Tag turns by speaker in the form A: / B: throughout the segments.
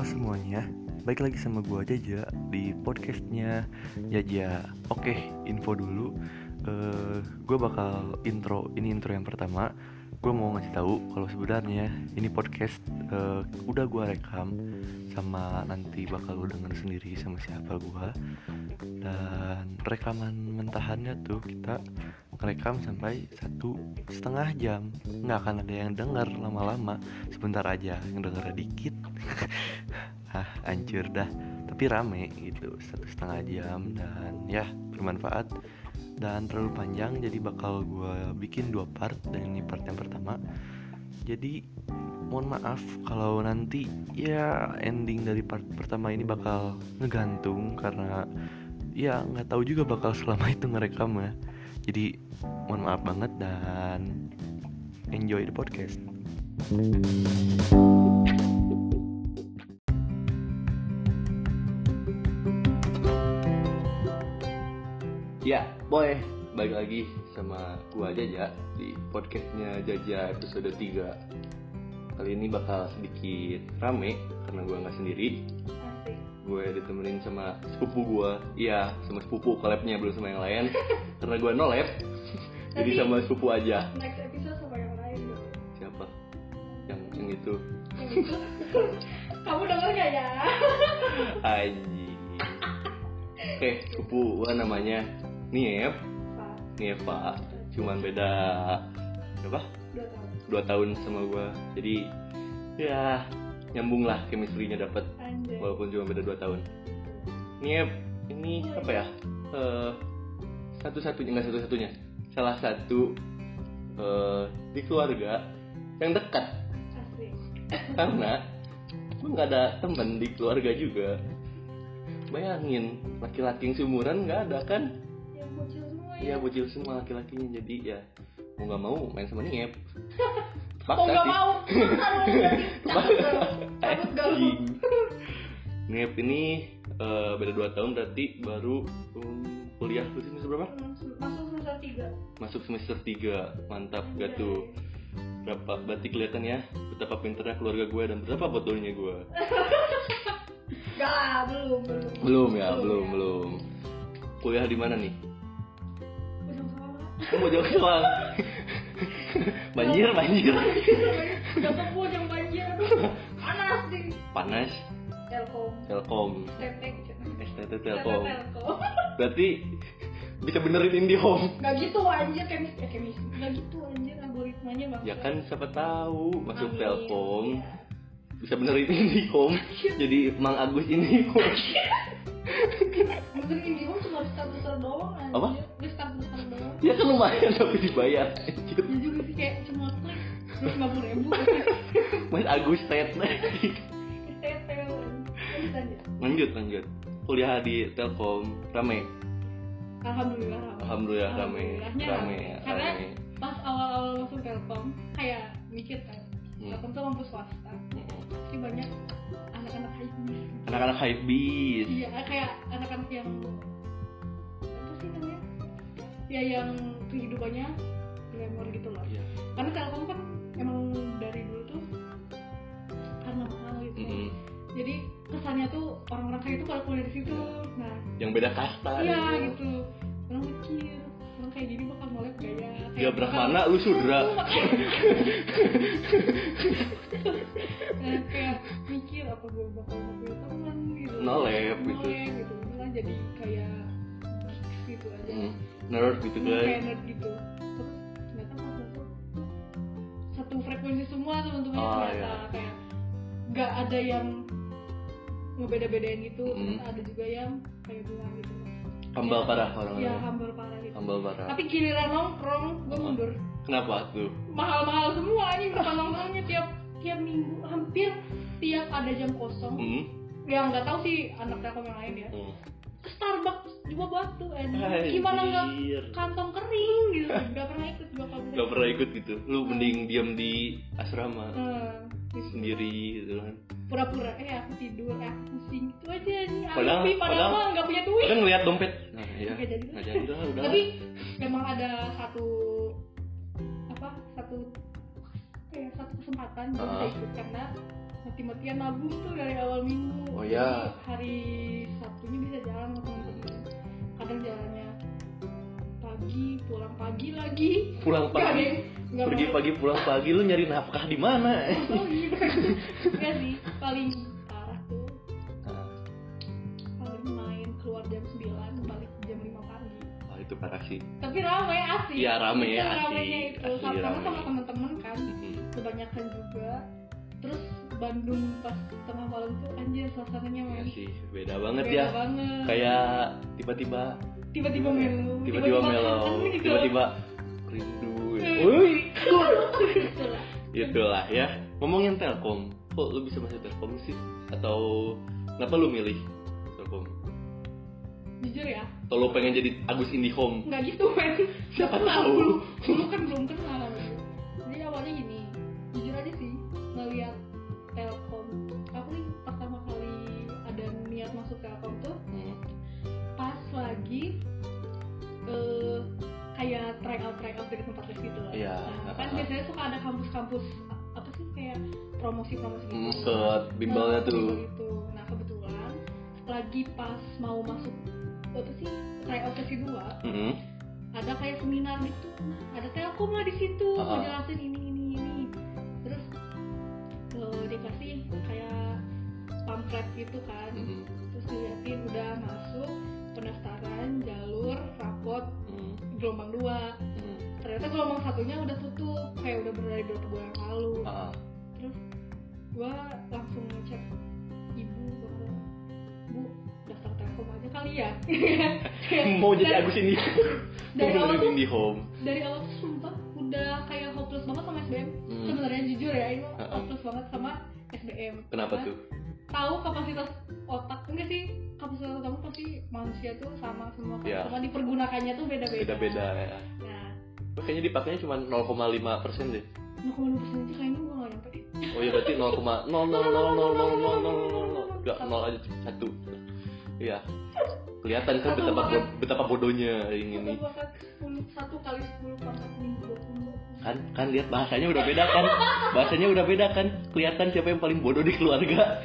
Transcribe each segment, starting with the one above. A: semuanya Baik lagi sama gue Jaja di podcastnya Jaja Oke info dulu Eh, Gue bakal intro, ini intro yang pertama Gue mau ngasih tahu kalau sebenarnya ini podcast eh, udah gue rekam Sama nanti bakal lo denger sendiri sama siapa gue Dan rekaman mentahannya tuh kita rekam sampai satu setengah jam nggak akan ada yang denger lama-lama sebentar aja yang denger dikit ah hancur dah tapi rame gitu satu setengah jam dan ya bermanfaat dan terlalu panjang jadi bakal gue bikin dua part dan ini part yang pertama jadi mohon maaf kalau nanti ya ending dari part pertama ini bakal ngegantung karena ya nggak tahu juga bakal selama itu ngerekam ya jadi mohon maaf banget dan enjoy the podcast Ya, boleh. Balik lagi sama gua Jaja di podcastnya Jaja episode 3 Kali ini bakal sedikit rame karena gua nggak sendiri
B: Asik.
A: Gue ditemenin sama sepupu gua Iya, sama sepupu collabnya belum sama yang lain Karena gua no lab Jadi
B: Tapi-
A: sama sepupu aja
B: Next episode sama yang lain dong.
A: Siapa? Yang, yang itu
B: Yang itu. Kamu denger gak ya?
A: Anjing Oke, sepupu gua namanya Niep
B: Pak,
A: Nieva Cuman beda Berapa?
B: dua tahun.
A: dua tahun sama gua jadi ya nyambung lah chemistry-nya dapat
B: Anjay.
A: walaupun cuma beda dua tahun Niep ini apa ya Eh, satu-satunya nggak satu-satunya salah satu eh, di keluarga yang dekat
B: Asik.
A: karena gua nggak ada temen di keluarga juga bayangin laki-laki yang seumuran nggak ada kan
B: Yang bocil semua ya.
A: Iya bocil semua laki-lakinya jadi ya mau nggak mau main sama Niep
B: Mau nggak mau. Maksa lu ya. Takut gak lu? Takut gak lu?
A: Anjing. Niep ini eh, beda 2 tahun berarti baru um, kuliah lu semester berapa?
B: Hmm, sem- Masuk semester tiga.
A: Masuk semester 3 Mantap gak tuh Berapa, berarti kelihatan ya betapa pinternya keluarga gue dan betapa bodohnya gue
B: Gak lah, belum, belum.
A: Belum ya, belum, belum Kuliah di mana nih?
B: Ujung Solang.
A: Kamu mau jauh Kelang? banjir, banjir
B: Gak tau gua yang banjir. Aduh, Panas sih.
A: Panas,
B: Telkom.
A: Telkom
B: Tetek.
A: STT
B: Telkom.
A: Telkom Berarti bisa benerin IndiHome
B: Gak gitu anjir kemis eh kemis. Gak gitu anjir algoritmanya bang.
A: Ya kan siapa tahu masuk
B: Amin.
A: Telkom
B: Iya.
A: bisa benerin IndiHome jadi Mang Agus IndiHome
B: Mungkin ini gua cuma start besar doang anjir.
A: Apa?
B: Dia start besar doang.
A: Ya kan lumayan tapi dibayar anjir.
B: Ya juga sih kayak cuma klik terus lima puluh ribu.
A: Mas Agus set
B: Tetel. Terus aja.
A: Lanjut lanjut Kuliah di Telkom rame
B: Alhamdulillah. Alhamdulillah.
A: Alhamdulillah rame
B: Alhamdulillahnya
A: Rame
B: rame.
A: ya
B: Karena
A: rame
B: Pas awal-awal masuk Telkom kayak mikir kan,
A: Hmm,
B: Telkom tuh mampu swasta.
A: mm-mm.
B: Tapi banyak anak-anak high
A: Anak-anak hype beast
B: Iya, kayak anak-anak yang apa sih namanya? Ya yang kehidupannya glamor gitu loh.
A: Iya.
B: Karena Telkom kan emang dari dulu tuh karena mahal gitu.
A: Mm-mm.
B: Jadi kesannya tuh orang-orang kayak itu kalau kuliah di situ, nah
A: Yang beda kasta
B: iya
A: gitu.
B: gitu. Orang mikir, orang kayak gini bakal ngolek gaya.
A: Ya
B: kayak bakal-
A: Brahmana lu Sudra
B: Nah, kayak mikir apa gue bakal ngobrol teman gitu.
A: Nolep gitu.
B: Nolep gitu. Malah jadi kayak geeks gitu aja.
A: Mm, Nerd gitu
B: kayak
A: kan
B: nerd gitu terus ternyata pas masuk satu frekuensi semua teman-temannya
A: Oh,
B: ternyata kayak nggak ada yang ngebeda-bedain gitu
A: Mm.
B: ternyata ada juga yang kayak bilang gitu
A: Hambal parah orang-orang
B: ya hambal parah gitu
A: Hambal parah
B: tapi giliran nongkrong gue
A: Oh.
B: mundur
A: Kenapa tuh?
B: mahal-mahal semua ini bukan nongkrongnya tiap tiap minggu hampir tiap ada jam kosong
A: Hmm?
B: yang nggak tahu sih anak telkom yang lain ya
A: Hmm.
B: ke Starbucks juga batu anjing gimana nggak
A: Anjir.
B: kantong kering gitu nggak pernah ikut gua kalau
A: Gak pernah ikut gitu Lu mending diam di asrama
B: Eh, gitu.
A: Sendiri gitu kan
B: pura-pura eh aku tidur eh aku pusing itu aja nih aku
A: Padahal-
B: sih, padahal
A: padahal-
B: mah nggak punya duit
A: Kan ngeliat dompet Nah iya
B: Nggak jadi. gitu.
A: Nggak jadi udah udah
B: tapi memang ada satu apa satu kayak satu kesempatan gue bisa
A: Ah.
B: ikut karena mati-matian nabung tuh dari awal minggu
A: Oh,
B: Jadi
A: iya.
B: hari Sabtunya bisa jalan sama temen-temen kadang jalannya pagi pulang pagi lagi
A: Pulang
B: Nggak ada
A: pagi,
B: yang- nggak
A: pergi
B: mau-
A: pagi pulang pagi lu nyari nafkah di mana?
B: Oh, gitu. Nggak sih paling parah tuh
A: Nah,
B: paling main keluar jam 9 balik jam 5 pagi
A: wah, Nah, itu parah sih.
B: tapi ramai asik
A: Iya, rame ya,
B: Iya, ramainya
A: asik.
B: itu
A: Asli,
B: karena
A: rame.
B: sama teman-teman kan
A: Mhm.
B: kebanyakan juga terus Bandung pas tengah malam tuh anjir suasananya
A: Iya
B: main
A: sih, beda banget
B: beda
A: ya.
B: banget
A: Kayak tiba-tiba
B: tiba-tiba melu
A: tiba-tiba
B: kangen
A: mellow,
B: gitu.
A: tiba-tiba rindu.
B: Eh.
A: Wih,
B: Gitu lah.
A: itulah ya. Ngomongin Telkom, kok lu bisa masuk Telkom sih? Atau kenapa lu milih Telkom?
B: jujur ya
A: Atau lu pengen jadi Agus Indihome?
B: nggak gitu men
A: Siapa
B: Aku
A: tahu?
B: dulu kan belum kenal sama dia. jadi awalnya gini jujur aja sih ngeliat telkom aku nih pertama kali ada niat masuk telkom tuh
A: Hmm.
B: pas lagi eh kayak try out try out dari tempat les gitu lah
A: Iya.
B: nah, kan
A: Ah.
B: biasanya suka ada kampus-kampus a- apa sih kayak promosi-promosi gitu
A: Hmm, ke bimbelnya
B: Nah, bimbel
A: tuh.
B: itu. nah kebetulan lagi pas mau masuk apa sih try out ke kedua
A: Mhm.
B: ada kayak seminar gitu ada telkom lah di situ
A: Ah.
B: ngejelasin ini ini ini terus eh, dikasih kayak pamflet gitu kan
A: Mhm.
B: terus diliatin udah masuk pendaftaran jalur rapot
A: Mhm.
B: gelombang dua
A: Mhm.
B: ternyata gelombang satunya udah tutup kayak udah berdari beberapa bulan yang lalu
A: Ah.
B: terus gua langsung ngecek ibu bahwa bu daftar telkom aja kali ya
A: Mau jadi Agus Indi.
B: dari
A: Mau
B: awal
A: jadi
B: tuh
A: Indihome.
B: dari awal tuh sumpah udah kayak hopeless banget sama SBM
A: Hmm.
B: sebenarnya jujur ya ini
A: Uh-uh.
B: hopeless banget sama SBM
A: Kenapa
B: Karena
A: tuh?
B: tahu kapasitas otak enggak sih kapasitas kamu pasti manusia tuh sama semua kan.
A: Iya.
B: cuma dipergunakannya tuh beda beda
A: Beda-beda ya.
B: nah
A: Gua Kayaknya dipakainya cuma 0,5 persen deh.
B: 0,2 persen itu kayaknya gue nggak nyampe deh
A: Oh iya berarti 0,00000000 Enggak, 0 aja satu. Iya. Kelihatan kan
B: Satu
A: betapa
B: banget.
A: betapa bodohnya ring
B: satu
A: ini.
B: pangkat sepuluh satu kali sepuluh pangkat minggu dua puluh
A: Kan kan lihat bahasanya udah beda kan? Bahasanya udah beda kan? Kelihatan siapa yang paling bodoh di keluarga.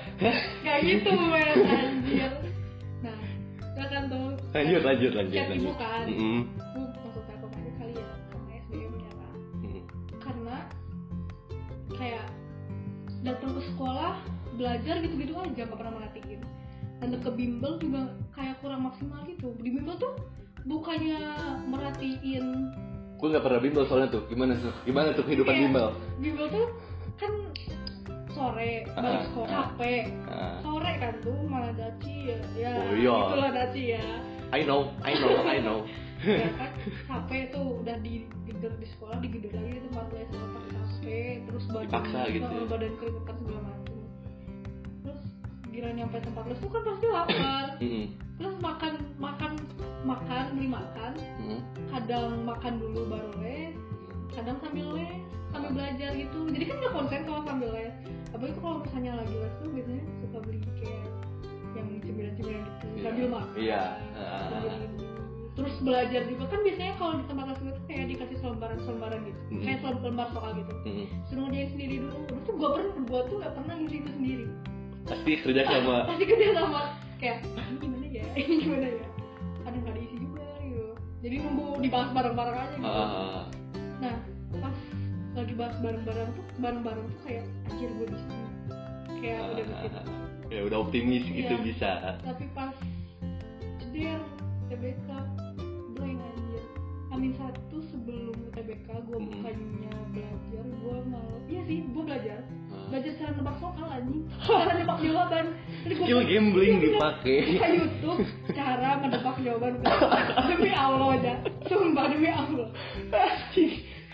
B: kayak gitu men anjir nah kita kan tuh
A: Lanjut lanjut lanjut
B: chat ibu
A: lanjut.
B: kan
A: Mm-mm.
B: bu masuk telkom aja kali ya sama SBM ya kan
A: Mm.
B: karena kayak datang ke sekolah belajar gitu-gitu aja nggak pernah merhatiin dan ke bimbel juga kayak kurang maksimal gitu di bimbel tuh bukannya merhatiin
A: Gue nggak pernah bimbel soalnya tuh. Gimana tuh? Gimana tuh kehidupan
B: Iya.
A: bimbel?
B: bimbel tuh kan sore balik
A: Ah,
B: sekolah
A: ah.
B: capek
A: Ah,
B: sore kan tuh malah daci ya ya
A: Oh iya.
B: itulah daci ya
A: I know, I know, I know. Iya.
B: ya kan capek tuh udah digedor di sekolah digedor lagi di tempat les otak capek terus badan
A: Dipaksa gitu ya.
B: eh, badan keringetan segala macam terus kira nyampe tempat les tuh kan pasti lapar
A: Mm-mm.
B: terus makan makan makan beli makan
A: Mm-mm.
B: kadang makan dulu baru les
A: Hmm.
B: kadang sambil les sambil belajar gitu jadi kan nggak konsen kalau sambil les apalagi tuh kalau misalnya lagi les tuh biasanya suka beli kayak yang cemilan-cemilan gitu
A: Iya.
B: sambil makan
A: Iya.
B: sambil ini. terus belajar juga kan biasanya kalau di tempat les itu kayak dikasih selembaran-selembaran gitu
A: Mm.
B: kayak selembar soal gitu
A: Mm-mm.
B: suruh ngerjain sendiri dulu dulu tuh gue pernah gue tuh nggak pernah ngisi itu sendiri
A: Pasti kerja sama
B: pasti kerja sama kayak ini gimana ya ini gimana ya kadang nggak diisi juga gitu jadi nunggu dibahas bareng-bareng aja gitu
A: Ah,
B: Nah, pas lagi bahas bareng-bareng tuh, bareng-bareng tuh kayak anjir gue bisa. ya. Kayak udah begitu.
A: ah, ya udah optimis gitu
B: Iya.
A: bisa
B: Tapi pas ceder TBK, blank anjir. Amin satu sebelum TBK gue
A: Mm.
B: bukannya belajar, gue mau iya sih gue belajar,
A: Ah.
B: belajar cara nebak soal anjing, cara nebak jawaban. Jadi gua-
A: skill gambling gitu,
B: Iya, bener.
A: dipakai
B: buka YouTube cara menebak jawaban demi Allah aja, sumpah demi Allah.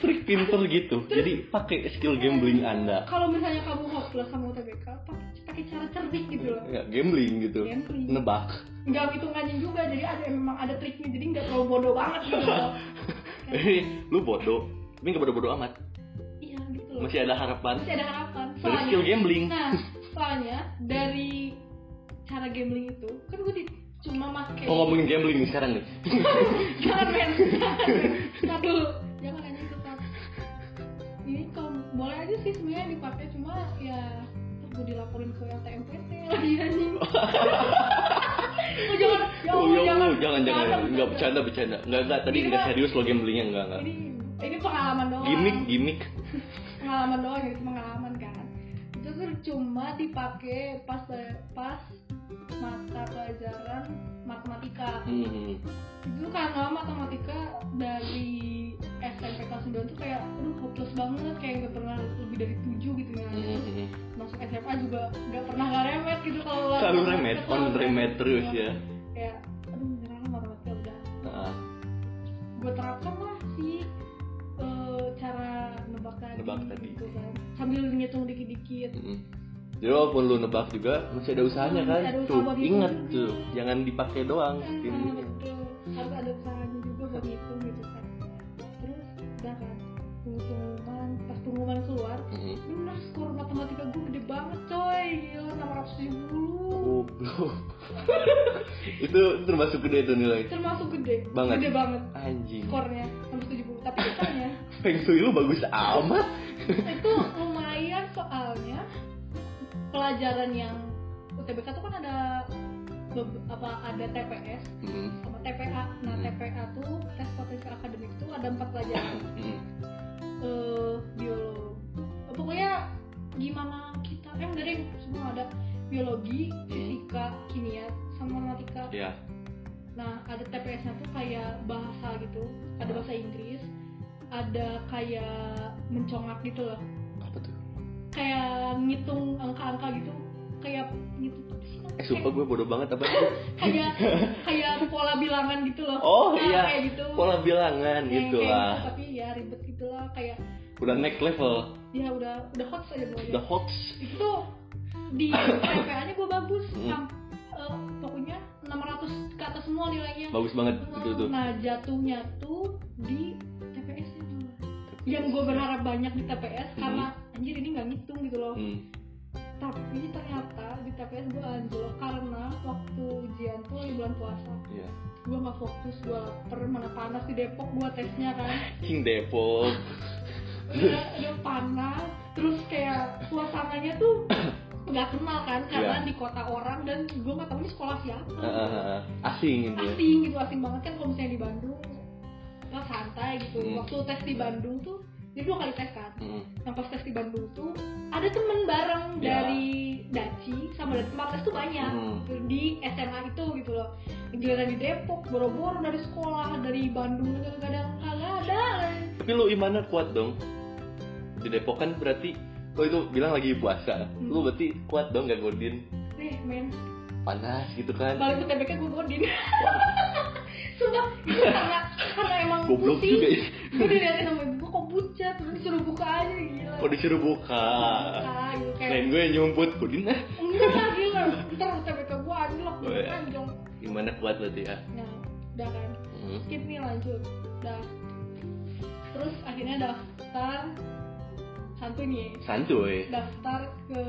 A: trik pinter gitu jadi pakai skill gambling anda
B: kalau misalnya kamu hopeless sama UTBK pakai pakai cara cerdik gitu loh
A: ya gambling gitu
B: Gambling.
A: nebak
B: nggak hitungannya juga jadi ada memang ada triknya jadi nggak terlalu bodoh banget gitu loh
A: Eh, lu bodoh tapi nggak bodoh bodoh amat
B: iya gitu loh
A: masih ada harapan
B: Masih ada harapan
A: dari skill gambling
B: nah soalnya dari cara gambling itu kan gue di, cuma
A: mau
B: make
A: Oh, ngomongin gambling nih sekarang nih
B: jangan men Ntar dulu jangan aja tetap ini kalau boleh aja sih sebenarnya dipakai cuma ya gue dilaporin ke LTMPT lagi anjing oh jangan ya
A: Oh,
B: Allah,
A: ya
B: jangan
A: Allah, jangan jangan, nggak bercanda
B: bercanda.
A: bercanda, nggak nggak tadi
B: Ini
A: nggak
B: mah-
A: serius lo gamblingnya nggak nggak.
B: ini ini pengalaman doang
A: Gimik gimik.
B: pengalaman doang ya cuma pengalaman kan itu tuh cuma dipakai pas pas mata pelajaran matematika
A: Hmm.
B: itu karena matematika dari SMP kelas 9 tuh kayak aduh hopeless banget kayak nggak pernah lebih dari 7 gitu ya
A: hmm, hmm.
B: masuk SMA juga nggak pernah nggak remet gitu kalau luar
A: Selalu
B: matematika,
A: remet, on
B: selalu
A: remet terus ya.
B: kayak aduh nyerang matematika ya, udah
A: Nah,
B: gue terapkan lah si eh, cara nebak tadi
A: Nebak tadi.
B: gitu kan sambil ngitung dikit-dikit
A: hmm. Jadi walaupun lu nebak juga masih ada usahanya kan?
B: Ada usaha
A: Tuh,
B: buat
A: ingat
B: itu.
A: tuh, jangan dipakai doang.
B: Nah,
A: Ini.
B: betul. harus ada usahanya juga buat ngitung gitu kan terus udah kan pengumuman pas pengumuman keluar
A: Hmm.
B: bener skor matematika gue gede banget coy gila 600 ribu
A: Goblok. itu termasuk gede tuh nilai.
B: termasuk gede
A: Banget.
B: gede banget
A: Anjing.
B: skornya 670 tapi katanya
A: Feng Shui lu bagus amat.
B: itu lumayan soalnya pelajaran yang UTBK tuh kan ada be- apa ada TPS
A: Hmm.
B: sama TPA. Nah,
A: Hmm.
B: TPA tuh tes potensial akademik tuh ada empat pelajaran.
A: Hmm.
B: eh biologi. Pokoknya gimana kita eh enggak deh, semua ada biologi,
A: Iya.
B: fisika, kimia, sama matematika.
A: Ya.
B: Nah, ada TPS-nya tuh kayak bahasa gitu, ada bahasa Inggris, ada kayak mencongak gitu loh.
A: Apa tuh?
B: Kayak ngitung angka-angka gitu, kayak ngitung apa sih namanya?
A: Eh sumpah gue bodoh banget apa itu?
B: kayak kayak pola bilangan gitu loh.
A: Oh,
B: Nah,
A: iya.
B: kayak gitu.
A: Pola bilangan
B: Kayak-
A: gitu
B: kayak
A: lah.
B: Tapi ya ribet gitu lah kayak
A: Udah next level.
B: ya udah udah hot aja gue.
A: The hoax.
B: Itu tuh di TPA-nya gue bagus.
A: Hmm.
B: Sam- eh, pokoknya 600 ke atas semua nilainya.
A: Bagus banget itu tuh.
B: Nah, jatuhnya tuh di TPS itu. Yang gue berharap banyak di TPS karena anjir ini nggak ngitung gitu loh.
A: Hmm.
B: Tapi ternyata di TPS gue anjlok karena waktu ujian tuh di bulan puasa.
A: Iya.
B: Gue nggak fokus, gue lapar, mana panas di Depok gue tesnya kan.
A: King Depok.
B: udah udah Iya, panas terus kayak suasananya tuh nggak kenal kan karena
A: Iya.
B: di kota orang dan gue nggak tahu ini sekolah siapa
A: Ah, asing ini.
B: asing gitu asing banget kan kalau misalnya di Bandung lah santai gitu
A: Hmm.
B: waktu tes di Bandung tuh jadi dua kali tes kan
A: Hmm.
B: yang pas tes di Bandung tuh ada temen bareng
A: Iya.
B: dari Daci sama dari tempat tes tuh banyak
A: Hmm.
B: di SMA itu gitu loh giliran di Depok boro-boro dari sekolah dari Bandung nggak ada nggak ada
A: Tapi lu imannya kuat dong. Di Depok kan berarti lo itu bilang lagi puasa. Lu
B: Hmm.
A: berarti kuat dong gak godin.
B: nih men
A: Panas gitu kan.
B: balik ke TBK gue godin sumpah itu karena karena emang
A: Goblok
B: putih
A: juga ya.
B: gue diliatin sama ibu gue kok pucat terus disuruh buka aja gila
A: Oh disuruh buka.
B: buka gitu kayak
A: Lain gue yang nyumput godin ah.
B: enggak lah gila ntar TBK gue anjlok
A: Oh,
B: gitu
A: iya.
B: anjlok
A: Imannya kuat berarti ya.
B: nah udah kan
A: Hmm.
B: skip nih lanjut udah terus akhirnya daftar santuy nih
A: Santuy.
B: daftar ke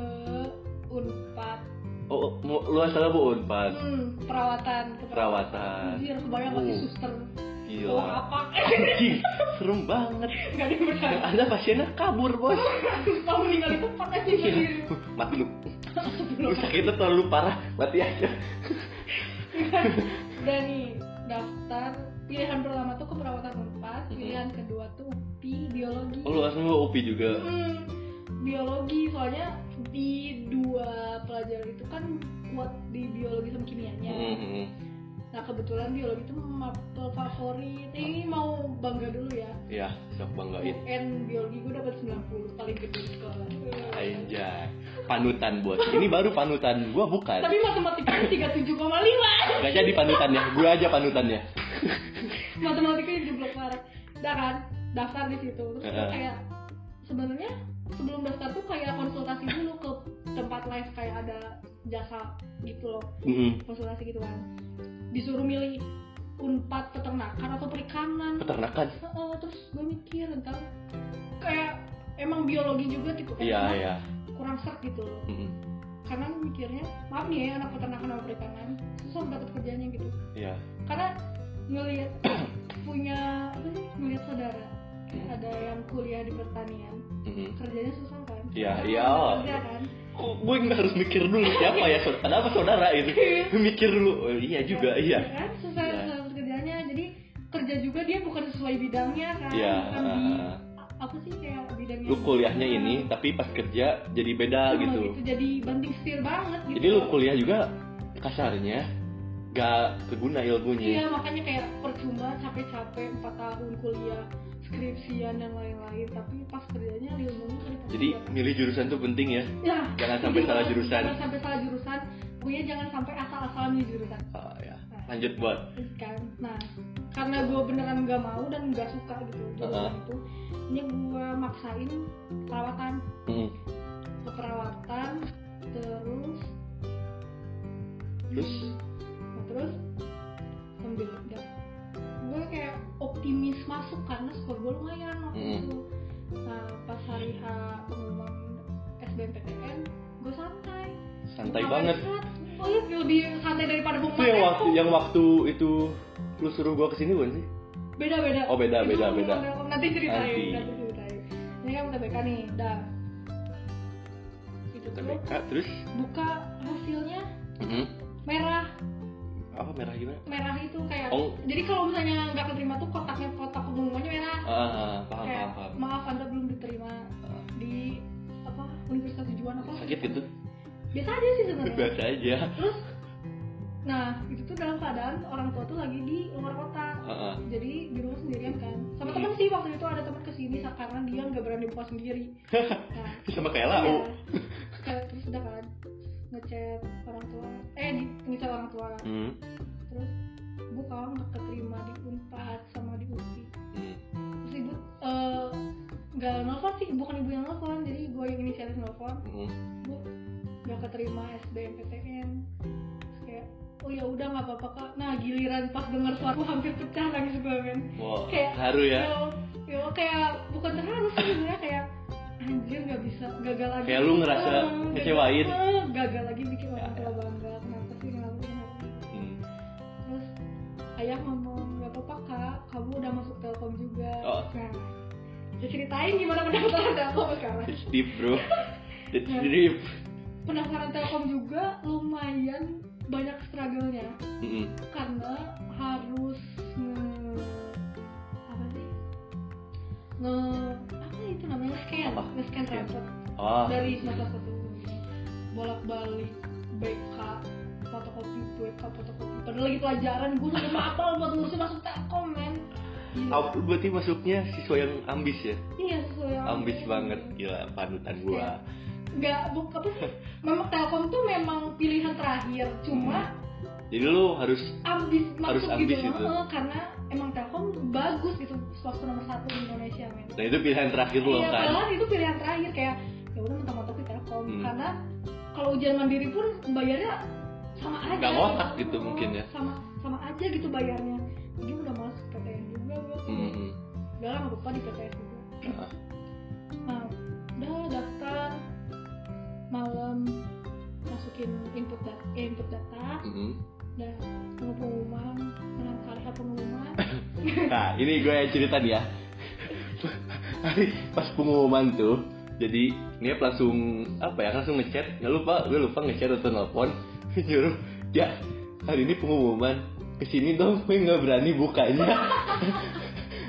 B: unpad
A: Oh, mau- lu asal apa unpad?
B: hmm, perawatan ke
A: Perawatan.
B: anjir kebayang gak sih
A: Uh,
B: suster
A: Gila.
B: oh apa
A: Anjing, serem banget.
B: Gak ada yang
A: Yang
B: percaya
A: ada pasiennya kabur, Bos.
B: Kamu meninggal di tempat aja
A: Iya.
B: sendiri
A: Mati lu. Lu sakitnya terlalu parah, mati aja.
B: Udah nih, daftar Pilihan pertama tuh keperawatan unpad Pilihan kedua tuh UPI, biologi
A: Mm-hmm. Oh, lu asal mau OP juga.
B: Hmm, Biologi, soalnya di dua pelajaran itu kan kuat di biologi sama kimianya
A: Hmm,
B: Nah kebetulan biologi itu mapel favorit Ini
A: Ah.
B: mau bangga dulu ya
A: ya, sok banggain.
B: UN biologi gue dapat 90 paling gede di sekolah
A: Anjay. Panutan, Bos. Ini baru panutan. Gua bukan.
B: Tapi matematikanya 37,5
A: Gak jadi panutannya. Gua aja panutannya.
B: matematikanya jadi blok parah udah kan daftar di situ terus
A: Heeh.
B: gua kayak sebenarnya sebelum daftar tuh kayak konsultasi dulu ke tempat live kayak ada jasa gitu loh
A: Hmm.
B: konsultasi gitu kan disuruh milih unpad peternakan atau perikanan
A: Peternakan.
B: Heeh, terus gue mikir entar kayak emang biologi juga tipe
A: Iya,
B: pertama
A: iya. Mm-hmm.
B: kurang serk gitu loh
A: Mm-mm.
B: karena gua mikirnya maaf nih ya anak peternakan sama perikanan susah dapat kerjanya gitu
A: Iya.
B: karena ngelihat punya apa sih ngelihat saudara ada yang kuliah di pertanian
A: Mm-mm.
B: kerjanya susah kan
A: Iya,
B: Karena
A: iya.
B: nggak ada kerja kan
A: kok gue nggak harus mikir dulu siapa ya saudara ada apa saudara itu
B: Iya.
A: mikir dulu oh, iya juga
B: Iya
A: iya
B: kan sesuai
A: Iya.
B: sesuai kerjanya jadi kerja juga dia bukan sesuai bidangnya kan
A: Iya,
B: bukan di
A: ah.
B: apa sih kayak bidangnya
A: lu kuliahnya ini tapi pas kerja jadi beda
B: Cuma
A: gitu
B: jadi banting setir banget gitu
A: jadi lu kuliah juga kasarnya gak keguna ilmunya
B: Iya makanya kayak percuma capek-capek 4 tahun kuliah skripsian dan lain-lain tapi pas kerjanya ilmunya kan dipakai
A: jadi
B: buat-
A: milih jurusan tuh penting ya
B: ya,
A: jangan sampai
B: jadi
A: salah
B: jangan-
A: jurusan.
B: jangan sampai salah jurusan pokoknya jangan sampai asal-asalan di jurusan
A: Ah, ya. lanjut buat
B: kan nah karena gue beneran gak mau dan gak suka gitu jurusan
A: Uh-uh.
B: itu ini gue maksain perawatan
A: Hmm.
B: ke perawatan terus
A: terus
B: Nah, terus sambil udah gue kayak optimis masuk karena skor gue lumayan waktu
A: Hmm.
B: itu nah pas hari H pengumuman SBMPTN gue santai
A: santai
B: Ngapain
A: banget
B: banget. oh iya lebih santai daripada
A: itu
B: pengumuman
A: yang
B: Eko.
A: waktu yang waktu itu lu suruh gua kesini bukan sih
B: beda beda
A: Oh, beda,
B: Itu
A: beda,
B: pengumuman
A: beda.
B: Eko. nanti ceritain nanti,
A: Nanti.
B: ceritain ini kan UTBK nih dah itu tuh
A: TBK terus
B: buka hasilnya
A: Mhm.
B: merah
A: apa merah gimana
B: merah itu kayak
A: Oh.
B: jadi kalau misalnya nggak keterima tuh kotaknya kotak pengumumannya merah
A: ah, ah, ah, paham
B: kayak
A: paham paham
B: maaf anda belum diterima
A: Ah.
B: di apa universitas tujuan apa
A: sakit gitu
B: biasa aja sih sebenarnya
A: biasa aja
B: terus nah itu tuh dalam keadaan orang tua tuh lagi di luar kota
A: Ah, ah.
B: jadi di rumah sendirian kan sama
A: Hmm.
B: teman sih waktu itu ada teman kesini sa- karena dia nggak berani buka sendiri nah
A: sama kayak
B: iya.
A: lau
B: Kayak terus udah kan ngechat orang tua eh di- ngechat orang tua
A: Hmm.
B: terus bu kalau nggak keterima di unpad sama di upi
A: Hmm.
B: terus ibu eh, nggak nelfon sih bukan ibu yang nelfon jadi gue yang inisiatif nelfon
A: Hmm.
B: bu nggak keterima SBMPTN Terus kayak oh ya udah nggak apa-apa kak nah giliran pas denger suara gue hampir pecah nangis gue kan
A: Wah,
B: Kayak-
A: haru ya
B: yo kayak bukan terharu sih sebenarnya kayak anjir nggak bisa gagal lagi
A: Kayak lu ngerasa
B: Eh, gagal-
A: ngecewain.
B: eh, gagal lagi bikin orang
A: Ya,
B: tua bangga kenapa sih ngelakuin hal ini
A: Hmm.
B: terus ayah ngomong nggak apa-apa kak kamu udah masuk telkom juga
A: Oh.
B: nah saya ceritain gimana pendaftaran telkom sekarang
A: It's deep bro It's
B: Ya.
A: deep
B: pendaftaran telkom juga lumayan banyak struggle-nya
A: Mm-mm.
B: karena harus nge apa sih nge apa itu namanya scan
A: Apa?
B: nge scan
A: Scan.
B: rapot
A: Ah.
B: dari mata satu bolak balik BK fotokopi BK fotokopi padahal lagi pelajaran gue udah mapel buat ngurusin masuk telkom men Gila.
A: Ab- berarti masuknya siswa yang ambis ya
B: iya sesuai
A: ambis banget gitu. gila panutan gua
B: nggak buk apa sih memang telkom tuh memang pilihan terakhir cuma
A: jadi lu harus
B: ambis
A: Harus
B: masuk
A: ambis
B: gitu
A: itu.
B: Heeh, karena emang telkom bagus gitu swasta nomor satu di Indonesia men
A: nah itu pilihan terakhir lu
B: Iya,
A: kan
B: padahal itu pilihan terakhir kayak ya udah mentok-mentok di Telkom
A: Hmm.
B: karena kalau ujian mandiri pun bayarnya sama aja.
A: Nggak ngotak gitu mungkin ya.
B: Sama sama aja gitu bayarnya. Jadi udah masuk PTN juga gue.
A: Mm-mm.
B: Udah lah nggak apa-apa di PTN juga.
A: Ah.
B: Nah, udah daftar malam masukin input data, eh, input data,
A: Mm-mm.
B: udah tunggu pengumuman, menang kali hak pengumuman.
A: Nah, ini gue yang cerita nih ya. Pas pengumuman tuh, jadi Niap langsung apa ya langsung ngechat nggak lupa gue lupa ngechat atau telepon nyuruh ya hari ini pengumuman kesini dong gue nggak berani bukanya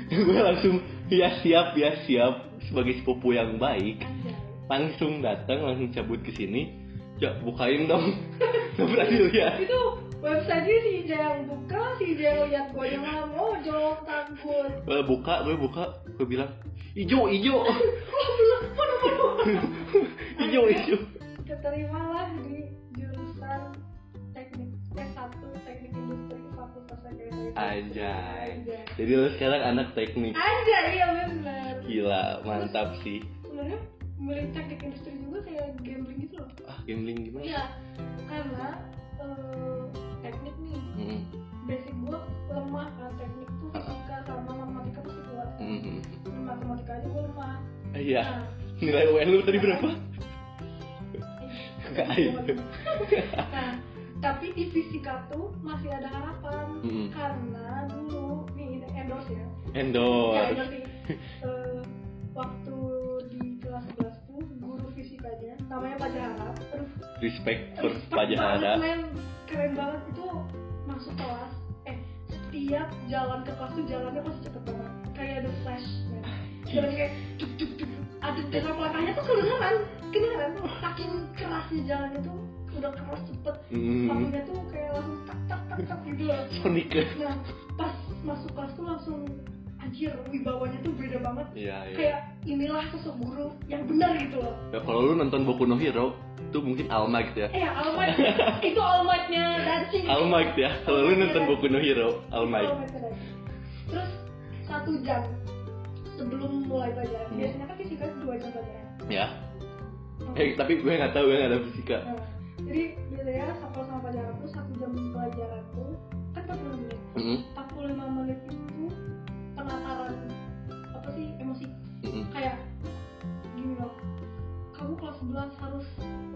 A: gue langsung ya siap ya siap sebagai sepupu yang baik
B: Anjay.
A: langsung datang langsung cabut ke sini ya bukain dong nggak berani lihat
B: itu websitenya si Ija yang buka si Ija yang lihat oh, gue yang nggak mau jawab takut
A: gue buka gue buka gue bilang ijo ijo
B: waduh Oh, waduh waduh
A: ijo ijo
B: keterimalah di jurusan teknik S1 teknik industri fakultas Sekretariat.
A: Anjay.
B: Anjay.
A: Jadi lu sekarang anak teknik.
B: Anjay, iya bener
A: Gila, mantap sih.
B: sebenarnya milih teknik industri juga kayak gambling gitu loh
A: Ah, gambling gimana?
B: iya karena eh, teknik nih
A: Mm,
B: basic gue lemah kan teknik tuh fisika sama matematika pasti kuat
A: mm, mm.
B: matematika aja gue lemah
A: Ah, Iya.
B: Nah,
A: Nilai UN lu tadi berapa?
B: eh,
A: Ayo.
B: nah, tapi di fisika tuh masih ada harapan
A: Mm.
B: karena dulu nih ini endorse ya. Ya,
A: Endorse.
B: endorse nih. Eh, waktu di kelas 11 tuh guru fisikanya namanya Pak Jaharap. Eh,
A: respect
B: Respect banget,
A: perpajaran
B: men. keren banget itu masuk kelas eh setiap jalan ke kelas tuh jalannya pasti cepet banget kayak ada flash men. jalan kayak cuk cuk cuk cuk. ada detak langkahnya tuh kedengeran kedengeran saking kerasnya jalannya tuh udah keras cepet
A: hmm. iya.
B: kakinya tuh kayak langsung tak tak tak tak gitu loh
A: Sonic
B: nah pas masuk kelas tuh langsung anjir wibawanya tuh beda banget
A: Iya, iya.
B: kayak inilah sosok guru yang benar gitu loh
A: Ya, kalau lu nonton Boku no Hero, itu mungkin Alma gitu ya.
B: eh Almat itu Almatnya Dancing
A: Alma gitu ya. Kalau lu nonton Boku no Hero, Alma.
B: Terus satu jam sebelum mulai pelajaran.
A: Hmm.
B: Biasanya kan fisika dua jam pelajaran.
A: Ya.
B: Hmm.
A: Eh, tapi gue nggak tahu, gue nggak ada fisika.
B: Nah, jadi biasanya kapal sama pelajaran tuh satu jam pelajaran tuh kan 40 menit.
A: Mm-mm.
B: 45 menit itu penataran apa sih emosi
A: Mm-mm.
B: kayak gini loh kamu kelas 11 harus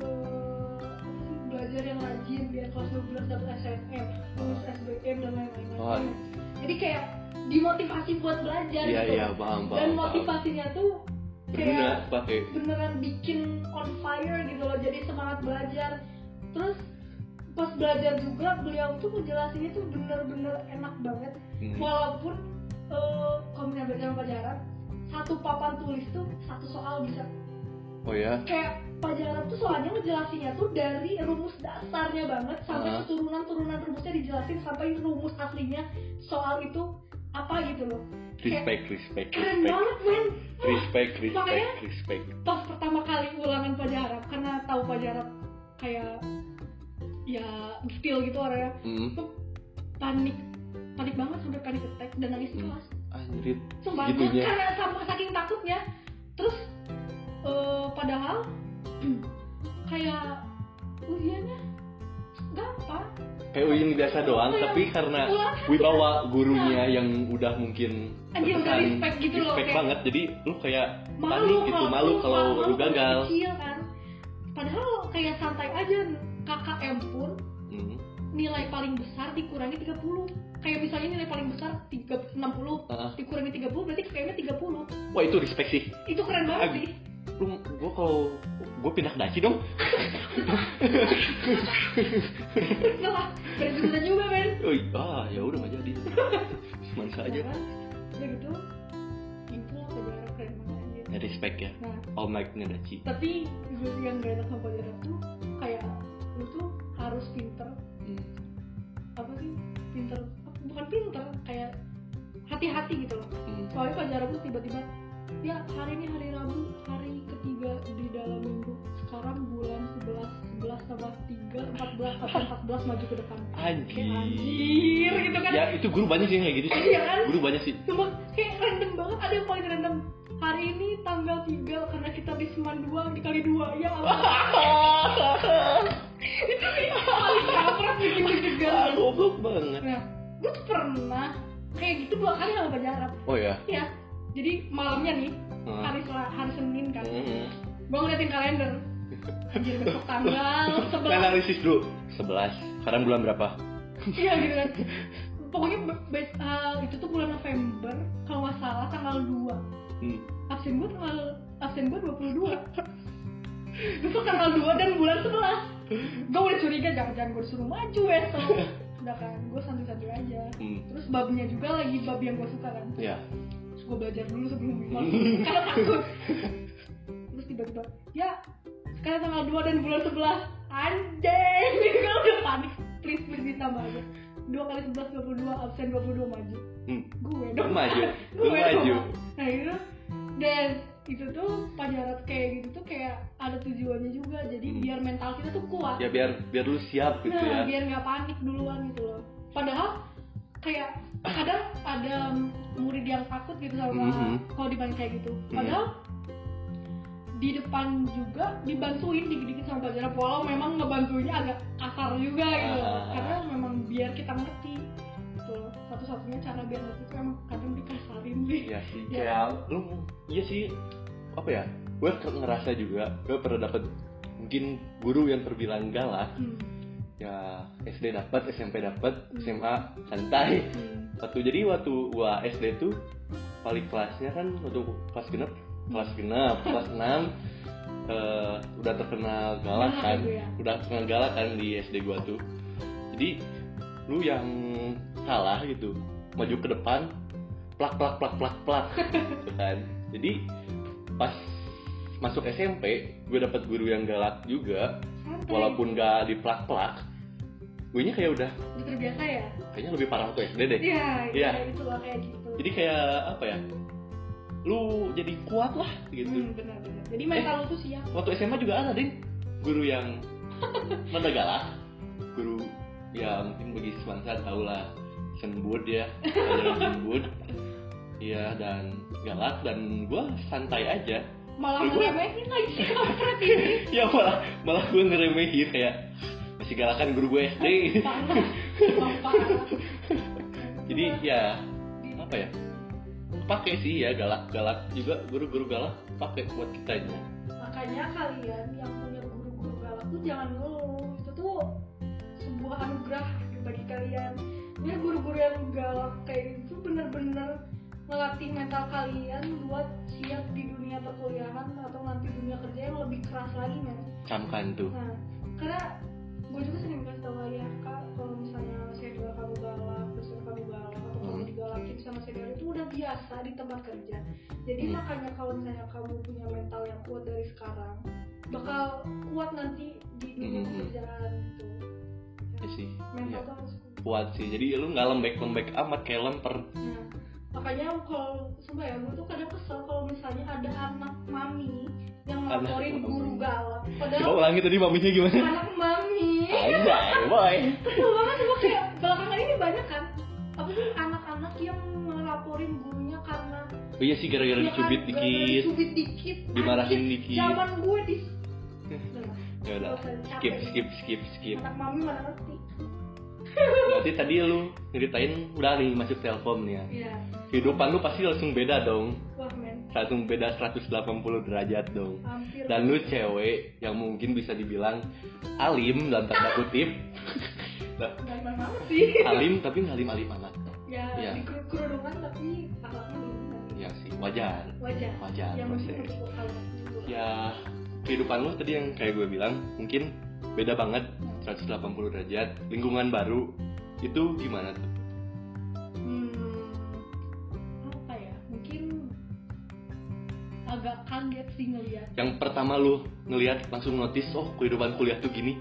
B: eh, apa sih, belajar yang rajin biar kelas 12 dapat SNM lulus SBM dan lain-lain
A: Oh.
B: jadi kayak dimotivasi buat belajar
A: Iya,
B: gitu
A: iya, paham, paham.
B: dan ya?
A: paham. Eh,
B: motivasinya tuh
A: Berguna,
B: kayak
A: pakai.
B: beneran bikin on fire gitu loh jadi semangat belajar terus pas belajar juga beliau tuh ngejelasinnya tuh bener-bener enak banget
A: Hmm.
B: walaupun eh, kalau misalnya belajar sama pajaran satu papan tulis tuh satu soal bisa
A: Oh ya.
B: kayak pajaran tuh soalnya ngejelasinnya tuh dari rumus dasarnya banget sampai
A: Ah.
B: keturunan-turunan rumusnya dijelasin sampai rumus aslinya soal itu apa gitu loh
A: Respect, respect,
B: keren
A: respect.
B: banget men
A: Respect, respect,
B: Makanya-
A: respect.
B: pas pertama kali ulangan pajaran karena tahu pajaran kayak ya skill gitu orangnya
A: Hmm.
B: panik panik banget sampai panik attack dan nangis di
A: Hmm.
B: kelas
A: Anjir.
B: Sumpah,
A: Segitunya.
B: karena sama saking takutnya. Terus eh, padahal kayak ujiannya gampang. kan
A: Kayak ujian biasa doang,
B: Kayak
A: tapi karena
B: ulangan.
A: Nah, wibawa gurunya yang udah mungkin
B: Anjir, udah
A: terkesan
B: respect gitu loh,
A: respect
B: kayak-
A: banget jadi lu kayak panik gitu
B: kalau-
A: malu kalau lu gagal
B: kecil kan. Padahal kayak santai aja KKM pun
A: Hmm.
B: nilai paling besar dikurangi 30 kayak misalnya nilai paling besar 3, 60
A: Ah.
B: dikurangi 30 berarti KKM-nya 30
A: wah itu respect sih
B: itu keren banget
A: Ag-
B: sih
A: lu gua kalau gua pindah ke daci dong
B: Nah, berjuta juga men
A: Ui, ah ya udah nggak jadi semangsa aja
B: Nah, udah gitu itu apa jarak keren banget
A: ya, respect ya
B: nah
A: all night nya daci
B: tapi gue yang gak enak sama jarak tuh kayak lu tuh harus pinter
A: Hmm.
B: apa sih pinter bukan pinter kayak hati-hati gitu loh
A: Hmm.
B: soalnya pajaran tuh tiba-tiba ya hari ini hari Rabu hari ketiga di dalam minggu sekarang bulan 11 11 tambah 3 14 atau 14 maju ke depan
A: Anjir.
B: Kayak, anjir gitu kan
A: ya itu guru banyak sih yang kayak gitu sih
B: Iya kan?
A: guru banyak sih
B: Cuma kayak random banget ada yang paling random hari ini tanggal 3 karena kita di seman 2 dikali 2 ya Allah itu sih paling kampret bikin
A: ah
B: deg-degan
A: goblok banget
B: nah gue tuh pernah kayak gitu dua kali sama Baja Arab
A: oh ya
B: ya jadi malamnya nih
A: Ah.
B: hari Sel- hari Senin kan
A: Hmm.
B: gue ngeliatin kalender anjir besok tanggal sebelas
A: analisis dulu 11 sekarang bulan berapa
B: iya gitu kan pokoknya be- be- eh, itu tuh bulan November kalau nggak salah tanggal 2
A: Hmm.
B: absen gue tanggal absen gue 22 besok tanggal 2 dan bulan 11 gue udah curiga jangan-jangan gue disuruh maju besok udah kan gue santai-santai aja
A: Hmm.
B: terus babnya juga lagi bab yang gue suka kan
A: ya
B: terus gue belajar dulu sebelum bimbel karena takut terus tiba-tiba ya sekarang tanggal 2 dan bulan 11 anjing gue udah panik please please ditambah aja 2 kali 11 22 absen 22 maju
A: Hmm.
B: gue
A: Lu
B: dong
A: maju,
B: gue
A: lu maju.
B: dong nah itu dan itu tuh pajarat kayak gitu tuh kayak ada tujuannya juga jadi
A: Hmm.
B: biar mental kita tuh kuat
A: Ya biar biar lu siap gitu ya.
B: nah, biar nggak panik duluan gitu loh padahal kayak kadang ada murid yang takut gitu sama
A: Mhm.
B: kalau dibantu kayak gitu
A: Mm-hmm.
B: padahal di depan juga dibantuin dikit-dikit sama belajar walau memang ngebantuinnya agak kasar juga gitu loh.
A: Ah.
B: karena memang biar kita ngerti gitu loh. satu-satunya cara biar ngerti itu emang kadang dikasarin sih
A: Iya sih. Kayak lu iya sih apa ya? Gue ke- ngerasa juga gue pernah dapet mungkin guru yang terbilang galak.
B: Hmm,
A: Ya SD dapat, SMP dapat,
B: Hmm.
A: SMA santai.
B: hmm.
A: Waktu jadi waktu gua SD tuh paling kelasnya kan waktu kelas genap, kelas genap, kelas 6 eh, udah terkenal galak
B: Galak
A: kan
B: gitu ya.
A: udah terkenal galak kan di SD gua tuh jadi lu yang salah gitu maju ke depan plak plak plak plak plak gitu kan jadi pas masuk SMP gue dapat guru yang galak juga
B: Santai.
A: walaupun gak diplak plak gue nya kayak udah
B: Udah terbiasa
A: Iya.
B: ya
A: kayaknya lebih parah waktu SD deh
B: iya
A: Iya.
B: iya itu lah kayak gitu
A: jadi kayak apa ya lu jadi kuat lah gitu
B: Hmm, benar benar jadi mental lu tuh siap
A: waktu SMA juga ada ding guru yang mana galak guru ya mungkin bagi semangsa tau lah sembut ya ada sembut ya dan galak dan gue santai aja
B: malah
A: Lu-
B: ngeremehin lagi sih kampret ini
A: ya malah malah gue ngeremehin kayak masih galakan guru gue SD
B: parah Bapak.
A: jadi ya apa ya pakai sih ya galak galak juga guru-guru galak pakai buat kitanya
B: makanya kalian yang punya guru-guru galak tuh jangan ngeluh itu tuh sebuah anugerah bagi kalian ini guru-guru yang galak kayak gitu bener-bener melatih mental kalian buat siap di dunia perkuliahan atau nanti dunia kerja yang lebih keras lagi men
A: camkan tuh
B: nah karena gue juga sering kasih tau ayah kak kalau misalnya senior kamu galak terus senior kamu galak atau kamu
A: Hmm.
B: digalakin sama senior itu udah biasa di tempat kerja jadi
A: Hmm.
B: makanya kalau misalnya kamu punya mental yang kuat dari sekarang bakal kuat nanti di dunia
A: Hmm.
B: pekerjaan gitu
A: ya sih
B: mental
A: Iya.
B: tuh harus kuat
A: kuat sih jadi lu nggak lembek lembek amat kayak lemper
B: Nah, makanya kalau sumpah ya gue tuh kadang kesel kalau misalnya ada anak mami yang
A: Anak
B: ngelaporin
A: mami. Ya
B: guru galak
A: coba
B: padahal
A: ulangi tadi maminya gimana
B: anak mami
A: Anjay, boy
B: Kesel banget cuma kayak belakangan ini banyak kan apa sih anak-anak yang ngelaporin gurunya karena
A: oh iya sih gara-gara
B: dia
A: dicubit
B: kan
A: dikit
B: dicubit dikit
A: dimarahin
B: anjir,
A: dikit.
B: zaman gue di
A: ya udah skip skip skip skip
B: anak mami mana ngerti
A: berarti tadi lu ceritain udah nih masuk telkom nih ya
B: iya
A: kehidupan lu pasti langsung beda dong
B: wah men
A: langsung beda 180 derajat dong
B: hampir
A: dan lu cewek yang mungkin bisa dibilang alim dan tanda kutip
B: dan mana sih
A: alim tapi nggak alim alim amat
B: ya,
A: Iya.
B: di kerudungan tapi akhlaknya belum benar.
A: ya sih wajar
B: wajar
A: wajar
B: yang penting
A: proses
B: untuk akhlak juga.
A: ya kehidupan lu tadi yang kayak gue bilang mungkin beda banget 180 derajat lingkungan baru itu gimana tuh
B: hmm, apa ya mungkin agak kaget sih ngeliat
A: yang pertama lu ngelihat langsung notice oh kehidupan kuliah tuh gini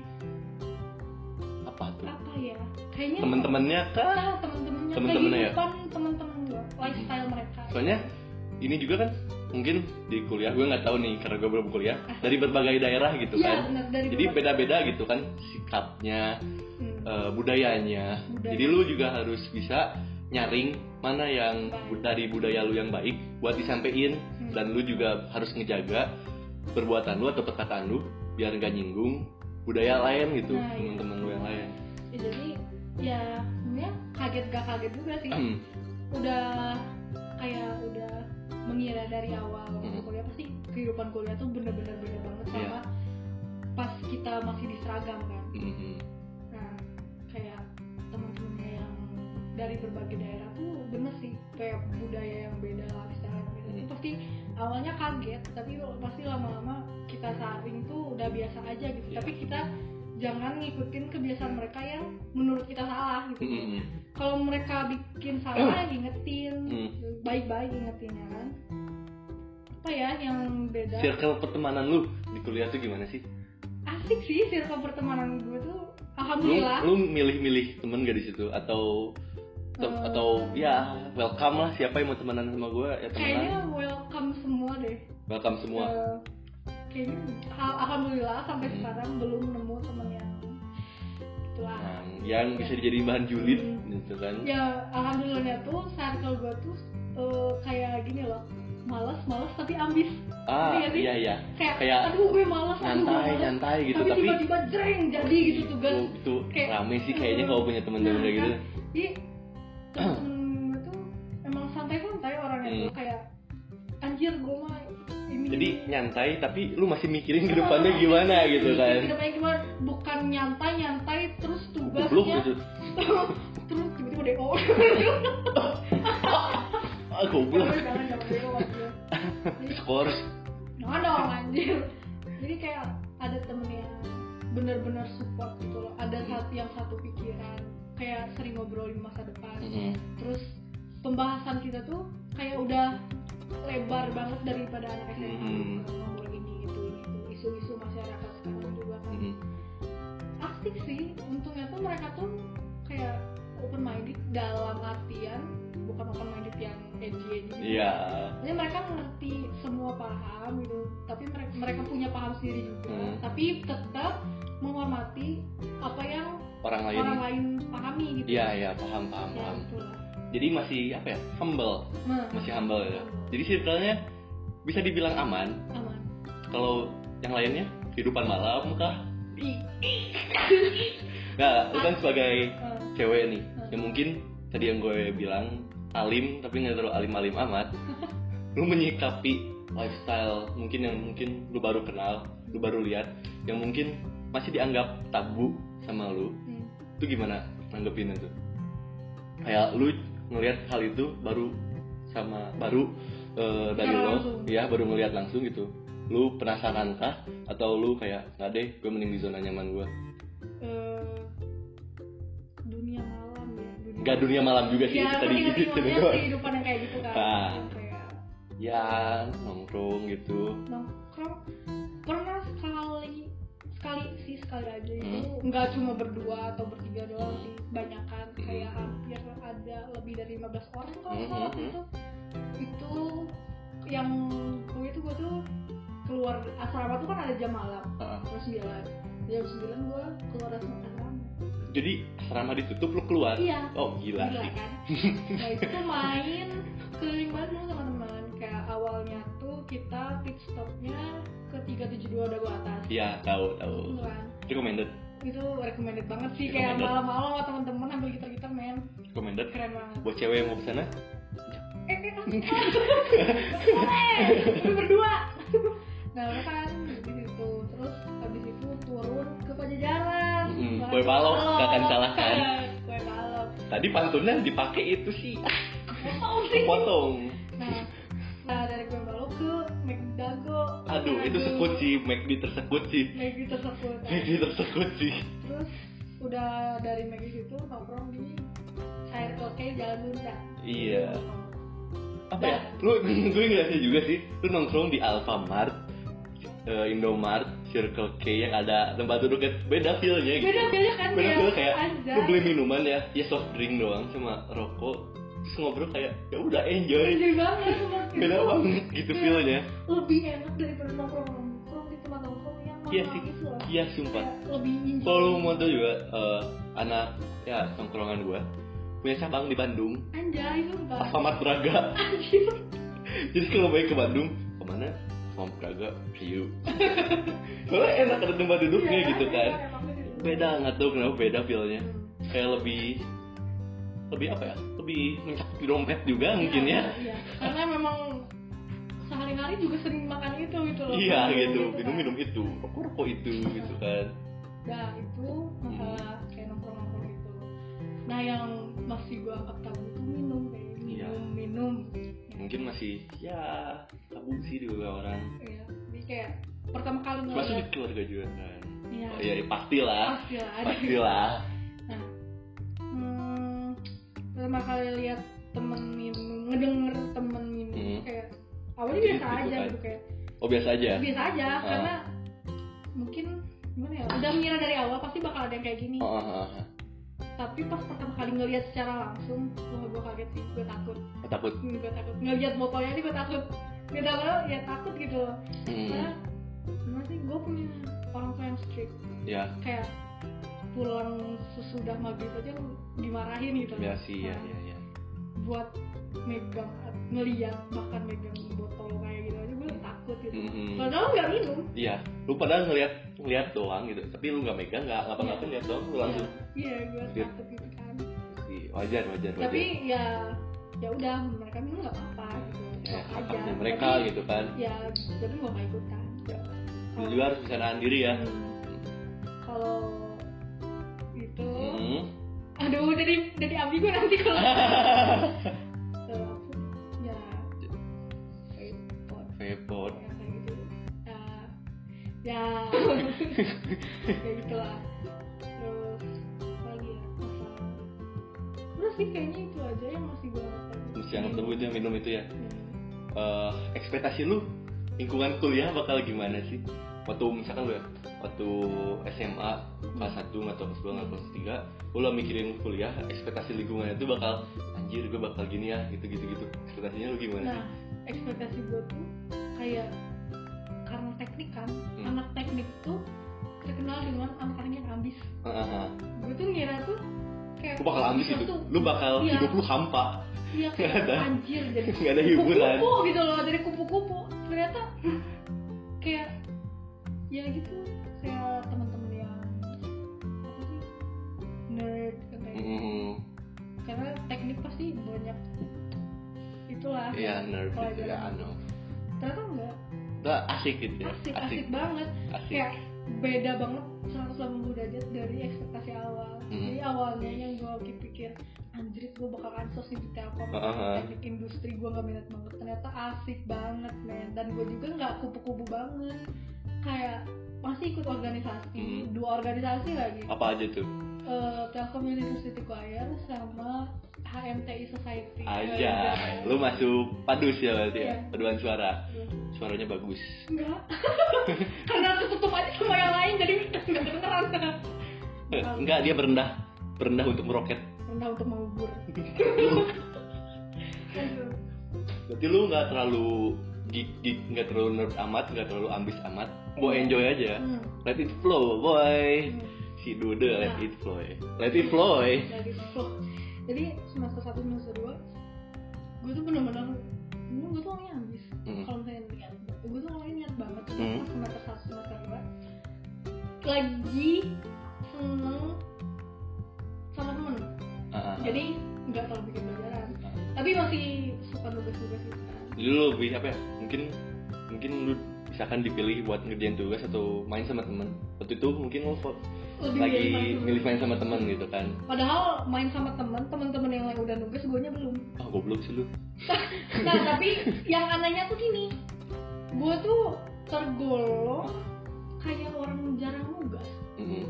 A: apa tuh
B: apa ya kayaknya
A: temen-temennya kan, kah
B: ah, temen-temennya
A: Temen-temennya ya?
B: kehidupan temen-temen gua lifestyle mereka
A: soalnya ini juga kan mungkin di kuliah gue nggak tahu nih karena gue belum kuliah dari berbagai daerah gitu
B: Iya,
A: kan
B: benar, dari
A: jadi
B: berbagai-
A: beda-beda gitu kan sikapnya
B: Hmm.
A: eh, budayanya.
B: Budaya.
A: Jadi lu juga harus bisa nyaring mana yang
B: Baik.
A: bu- dari budaya lu yang baik buat disampaikan
B: Hmm.
A: dan lu juga harus ngejaga perbuatan lu atau perkataan lu biar nggak nyinggung budaya lain gitu
B: Nah, iya.
A: teman-teman lu yang lain.
B: Ya, jadi ya sebenarnya kaget gak kaget juga sih
A: Ahem.
B: udah kayak udah mengira dari awal
A: Hmm.
B: kuliah pasti kehidupan kuliah tuh bener-bener beda banget sama
A: Iya.
B: pas kita masih di seragam kan
A: Mhm.
B: nah kayak teman-temannya yang dari berbagai daerah tuh bener sih kayak budaya yang beda lifestyle yang beda Itu pasti awalnya kaget tapi pasti lama-lama kita saring tuh udah biasa aja gitu
A: Iya.
B: tapi kita jangan ngikutin kebiasaan mereka yang menurut kita salah gitu
A: Mhm.
B: kalau mereka bikin salah
A: Eh.
B: ingetin
A: Hmm.
B: baik-baik ingetinnya kan apa ya yang beda
A: Circle pertemanan lu di kuliah tuh gimana sih?
B: asik sih circle pertemanan gue tuh
A: Lu
B: alhamdulillah
A: lu milih-milih temen gak di situ atau tem-
B: Eh.
A: atau ya welcome lah siapa yang mau temenan sama gue ya temenan.
B: kayaknya welcome semua deh
A: Welcome semua.
B: Eh, kayaknya al- alhamdulillah sampai
A: Hmm.
B: sekarang belum nemu temen yang gitulah
A: Nah, yang bisa dijadiin bahan julid gitu kan.
B: ya alhamdulillahnya tuh circle gue tuh eh, kayak gini loh males males tapi ambis
A: Ah,
B: Iya sih?
A: iya iya.
B: kayak,
A: Kayak
B: aduh gue males aduh gue
A: Nyantai,
B: males
A: nyantai gitu
B: tapi
A: tapi,
B: tiba-tiba jreng jadi gitu tugas
A: Oh, itu
B: Kayak-
A: rame sih kayaknya kalau punya teman-teman
B: Nah,
A: kayak gitu.
B: kan. jadi temen gue tuh emang santai-santai orangnya tuh
A: Hmm.
B: kayak anjir gue mah ini
A: Jadi nyantai tapi lu masih mikirin ke
B: Iya,
A: depannya
B: iya,
A: gimana
B: iya,
A: gitu
B: iya,
A: kan.
B: ke depannya gimana bukan nyantai nyantai terus
A: Goblok
B: tugasnya
A: gitu.
B: terus tiba-tiba DO
A: Ah,
B: Iya,
A: goblok.
B: jangan jangan DO anjir.
A: Skor.
B: Jangan dong anjir jadi kayak ada temennya benar-benar support gitu loh ada satu yang satu pikiran kayak sering ngobrolin masa depan
A: Mhm.
B: terus pembahasan kita tuh kayak udah lebar banget daripada anak SMA
A: Mhm.
B: gitu, ngomongin ini itu itu isu-isu masyarakat sekarang juga kan
A: Mhm.
B: aktif sih untungnya tuh mereka tuh kayak open minded dalam artian bukan open minded yang edgy edgy
A: Iya.
B: jadi mereka mengerti semua paham gitu tapi mereka mereka punya paham sendiri juga
A: Hmm.
B: tapi tetap menghormati apa yang
A: Orang lain.
B: orang lain pahami gitu
A: Iya iya paham paham
B: ya
A: paham.
B: gitu lah.
A: Jadi masih apa ya humble,
B: nah,
A: masih humble ya. Jadi circle-nya bisa dibilang aman.
B: aman
A: Kalau yang lainnya kehidupan malam kah?
B: Ih,
A: Nah, lu kan sebagai
B: eh,
A: cewek nih yang mungkin tadi yang gue bilang alim tapi nggak terlalu alim-alim amat lu menyikapi lifestyle mungkin yang mungkin lu baru kenal lu baru lihat yang mungkin masih dianggap tabu sama lu
B: hmm.
A: itu gimana nanggepin itu kayak lu ngelihat hal itu baru sama baru eh, dari
B: Secara
A: lo
B: Iya, langsung.
A: ya baru ngelihat langsung gitu lu penasaran kah atau lu kayak nggak deh gue mending di zona nyaman gue
B: Eh, dunia malam ya dunia
A: nggak dunia malam juga sih
B: ya,
A: tadi
B: ngerti
A: gitu
B: maksudnya
A: doang.
B: kehidupan yang kayak gitu kan
A: Ah.
B: Yang kayak
A: ya nongkrong gitu
B: nongkrong pernah sekali sekali sih sekali aja itu nggak cuma berdua atau bertiga doang sih banyakan
A: Hmm.
B: kayak hampir ada lebih dari 15 orang kalau nggak salah waktu
A: Hmm,
B: itu itu yang gue itu gue tuh keluar asrama tuh kan ada jam malam
A: Heeh.
B: jam sembilan jam sembilan gue keluar dari asrama
A: jadi asrama ditutup lu keluar
B: iya
A: oh gila
B: Gila
A: sih
B: kan? Nah itu tuh main keliling Bandung teman-teman Kayak awalnya tuh kita pit stopnya ke 372 dagu atas
A: iya tahu tahu
B: Itu kan
A: recommended
B: Itu recommended banget sih Kayak
A: Recommended.
B: malam-malam lah teman-teman ambil gitar-gitar men
A: recommended
B: Keren banget
A: buat cewek yang mau kesana
B: Eh, eh, eh, Lu berdua Nah lu kan di situ Terus habis itu turun ke Pajajaran
A: Mm,
B: Makan
A: kue balok, gak akan salahkan.
B: Kue balok
A: tadi pantunnya dipakai itu sih
B: Potong sih
A: potong
B: Nah, nah dari gue baru ke McDago.
A: aduh itu sekut sih McD tersekut sih
B: Maggie tersebut.
A: McD tersekut sih
B: Terus udah dari Maggie situ nongkrong di air koke Jalan Bunda.
A: iya apa ya lu gue ngerasa juga sih lu nongkrong di Alfamart eh, Indomart Circle K yang ada tempat duduknya beda feelnya gitu
B: Beda beda kan
A: bener bener kayak
B: anjay.
A: lu beli minuman ya ya soft drink doang sama rokok terus ngobrol kayak ya udah enjoy
B: Anjay banget menurut gue.
A: beda banget gitu
B: Iya.
A: feelnya
B: Lebih enak daripada nongkrong nongkrong di tempat nongkrong yang mahal
A: Iya sih.
B: gitu loh.
A: iya sumpah
B: Kayak Lebih enjoy.
A: kalau lu mau tuh juga eh, anak ya tongkrongan gua punya cabang di Bandung
B: Anjay sumpah.
A: Alfamart Braga
B: Anjir.
A: jadi kalau baik ke Bandung kemana Alfamart Braga Priu soalnya enak ada tempat duduknya
B: Iya,
A: gitu kan
B: enak, emang gitu.
A: beda ya. nggak tahu kenapa beda feelnya
B: Hmm.
A: kayak lebih lebih apa ya lebih mencakup di dompet juga mungkin ya
B: Iya, karena memang sehari-hari juga sering makan itu gitu loh.
A: Iya gitu,
B: kan.
A: minum-minum itu, rokok-rokok itu gitu kan.
B: Nah itu masalah
A: Hmm.
B: kayak nongkrong-nongkrong gitu. Nah yang masih gua anggap tabu itu minum kayak
A: Iya.
B: minum minum.
A: Mungkin masih ya tabu sih di beberapa orang.
B: Iya, jadi kayak pertama kali
A: Masih di
B: ngeliat.
A: keluarga juga kan.
B: Iya.
A: Oh, iya, pastilah,
B: Pasti lah ada.
A: pastilah.
B: Nah, hmm, pertama kali lihat temen minum, ngedenger temen minum
A: Hmm.
B: kayak awalnya
A: Jadi
B: biasa
A: gitu
B: aja
A: kan.
B: gitu kayak
A: Oh biasa aja.
B: biasa aja
A: Ah.
B: karena mungkin gimana ya udah mengira dari awal pasti bakal ada yang kayak gini
A: Oh, oh, oh, oh.
B: tapi pas pertama kali ngelihat secara langsung wah gue kaget sih gue takut
A: Oh, takut.
B: hmm, gue takut ngelihat motornya ini gue takut nggak tahu kenapa, ya takut gitu loh karena
A: Hmm.
B: gimana sih gue punya orang tua yang strict
A: Ya,
B: kayak pulang sesudah maghrib aja dimarahin gitu
A: ya sih, ya,
B: Nah,
A: ya, ya.
B: buat megang ngeliat bahkan megang botol kayak gitu aja gue takut gitu
A: Hmm, hmm.
B: padahal nggak minum
A: Iya, lu padahal ngeliat ngeliat doang gitu, tapi lu nggak megang, nggak ngapa-ngapain lihat doang, lu langsung.
B: iya gue
A: Iya.
B: takut gitu kan
A: Sih, wajar, wajar, wajar.
B: tapi ya ya udah mereka minum nggak apa-apa gitu
A: ya,
B: sok aja
A: haknya mereka
B: Tapi,
A: gitu kan.
B: ya tapi gue nggak kan. Ya. ikutan
A: Lu juga harus bisa nahan diri ya.
B: Hmm. kalau itu
A: Hmm.
B: aduh dari dari abi gue nanti kalau Tuh, aku ya kayak pot,
A: Vapor.
B: ya, kayak gitu. Eh, ya kayak gitulah terus apa lagi ya masalah udah sih kayaknya itu aja yang masih Hmm. gue
A: Terus yang ketemu itu yang minum itu ya Eh, ekspektasi lu lingkungan kuliah bakal gimana sih waktu misalkan lu ya waktu SMA kelas 1 atau kelas 2 atau kelas 3 lu lah mikirin kuliah ekspektasi lingkungan itu bakal anjir gue bakal gini ya gitu gitu gitu ekspektasinya lu gimana
B: nah
A: sih
B: ekspektasi gue tuh kayak karena teknik kan
A: Hmm.
B: anak teknik tuh terkenal dengan anak-anak yang ambis
A: Ah, ah, ah.
B: gue tuh ngira tuh kayak
A: lu bakal ambis
B: kita
A: itu
B: tuh-
A: lu bakal
B: Iya.
A: hidup lu hampa
B: iya kayak
A: Ada.
B: anjir jadi
A: nggak ada hiburan
B: kupu-kupu gitu loh dari kupu-kupu ternyata kayak ya gitu kayak teman-teman yang apa sih nerd kan kayak gitu.
A: Mm,
B: karena teknik pasti banyak itulah
A: iya nerd
B: Oh,
A: gitu ya
B: Pelajaran.
A: anu
B: ternyata enggak
A: Nah, asik gitu ya
B: asik asik banget Iya.
A: asik.
B: kayak beda banget 180 derajat dari ekspektasi awal
A: Hmm.
B: jadi awalnya yang gue pikir anjir gue bakal ansos di telkom
A: Heeh.
B: teknik industri gue gak minat banget ternyata asik banget men dan gue juga nggak kupu-kupu banget kayak masih ikut organisasi
A: Hmm. Oh.
B: dua organisasi lagi
A: apa aja tuh
B: Eh, telkom university choir sama HMTI society
A: aja
B: Eh,
A: lu masuk padus ya berarti ya
B: Iya.
A: paduan suara
B: Iya.
A: suaranya bagus
B: Enggak. Karena tertutup aja sama yang lain jadi enggak kedengeran.
A: Eh, enggak
B: gitu.
A: dia berendah berendah untuk meroket
B: Rendah untuk mengubur. Aduh.
A: berarti lu nggak terlalu geek geek nggak terlalu nerd amat nggak terlalu ambis amat mau enjoy aja
B: Hmm.
A: let it flow boy
B: Hmm.
A: si dude let
B: Iya.
A: it flow let it flow Ah,
B: Dari situ. Jadi semester 1 semester 2 gue tuh bener-bener ini gue tuh orangnya ambis.
A: Hmm.
B: Kalau misalnya niat, gue tuh orangnya niat banget.
A: Hmm.
B: Pas Semester 1 semester 2 lagi seneng sama temen.
A: Ah, ah.
B: Jadi nggak terlalu bikin pelajaran. Tapi masih suka nugas-nugas gitu kan.
A: jadi lu lebih apa ya mungkin mungkin lu misalkan dipilih buat ngerjain tugas atau main sama temen waktu itu mungkin lu fo-
B: lebih
A: lagi
B: milih
A: milih main
B: main
A: sama temen gitu kan
B: padahal main sama teman teman-teman yang lain udah nugas gue nya belum
A: ah goblok sih lu
B: nah tapi yang anehnya tuh gini gue tuh tergolong kayak orang jarang nugas
A: Mm-mm.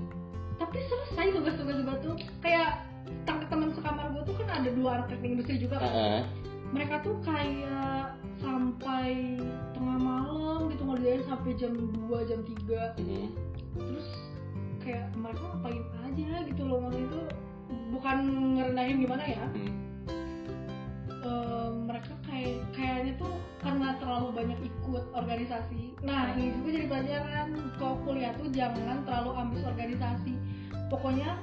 B: tapi selesai tugas-tugas gue tuh kayak tang teman sekamar gue tuh kan ada dua anak teknik industri juga kan.
A: Ah, ah.
B: mereka tuh kayak sampai tengah malam gitu ngerjain sampai jam 2 jam 3
A: Mm-mm.
B: terus kayak mereka ngapain aja gitu loh maksudnya itu bukan ngerendahin gimana ya
A: Mm.
B: Eh, mereka kayak kayaknya tuh karena terlalu banyak ikut organisasi nah
A: Hmm.
B: ini juga jadi pelajaran kalau kuliah tuh jangan terlalu ambis organisasi pokoknya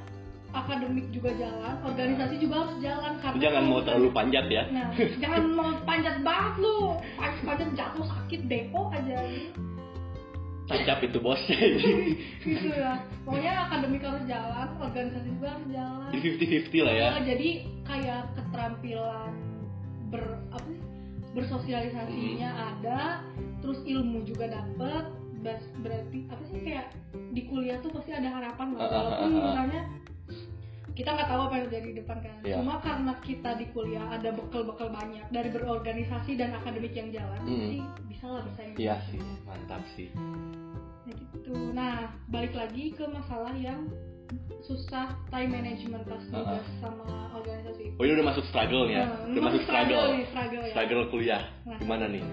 B: akademik juga jalan organisasi juga harus jalan
A: Lu
B: karena
A: Nah. jangan
B: kalau
A: mau
B: bukan-
A: terlalu panjat ya
B: nah jangan mau panjat banget lu panjat, panjat jatuh sakit depo aja
A: tancap itu bos
B: gitu ya pokoknya akademik harus jalan organisasi juga harus jalan
A: jadi 50-50 lah ya
B: Nah, jadi kayak keterampilan ber apa sih, bersosialisasinya
A: Mm-hmm.
B: ada terus ilmu juga dapet bas- berarti apa sih kayak di kuliah tuh pasti ada harapan
A: Ah, ah,
B: lah
A: ah,
B: walaupun
A: ah.
B: misalnya kita nggak tahu apa yang terjadi di depan kan
A: Iya.
B: cuma karena kita di kuliah ada bekal-bekal banyak dari berorganisasi dan akademik yang jalan
A: Hmm.
B: pasti bisa lah bersaing
A: iya sih mantap sih
B: Nah, gitu. Nah, balik lagi ke masalah yang susah time management pas
A: Ah,
B: tugas sama organisasi.
A: oh ini udah masuk struggle nih ya
B: Nah,
A: udah
B: ini
A: masuk struggle
B: nih, struggle ya.
A: struggle kuliah
B: Nah.
A: gimana nih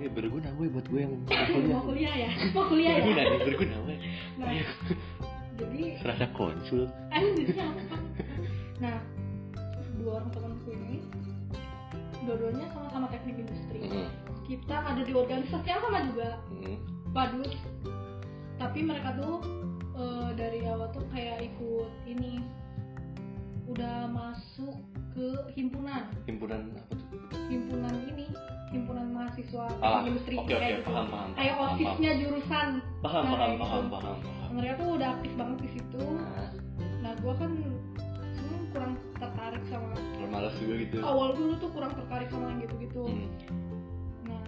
A: ini berguna gue buat gue yang
B: Mau kuliah
A: Iya.
B: ya, mau kuliah ya.
A: berguna nih berguna gue
B: Nah, jadi eh,
A: serasa konsul
B: aduh jadinya apa? Nah, dua orang temanku ini dua-duanya sama-sama teknik industri.
A: Mm-mm.
B: Kita ada di organisasi yang sama juga,
A: Mm-mm.
B: Padus. Tapi mereka tuh eh, dari awal tuh kayak ikut ini udah masuk ke himpunan
A: himpunan apa tuh
B: himpunan ini himpunan mahasiswa
A: ah oke
B: industri
A: oke
B: kayak gitu.
A: paham paham
B: kayak
A: paham, paham.
B: ofisnya jurusan
A: paham
B: Nah,
A: paham
B: kayak
A: paham
B: gitu.
A: paham paham
B: mereka tuh udah aktif banget di situ
A: Nah,
B: nah gua kan sebenarnya kurang tertarik sama
A: lu malas juga gitu
B: awal dulu tuh kurang tertarik sama yang gitu-gitu
A: Mm,
B: nah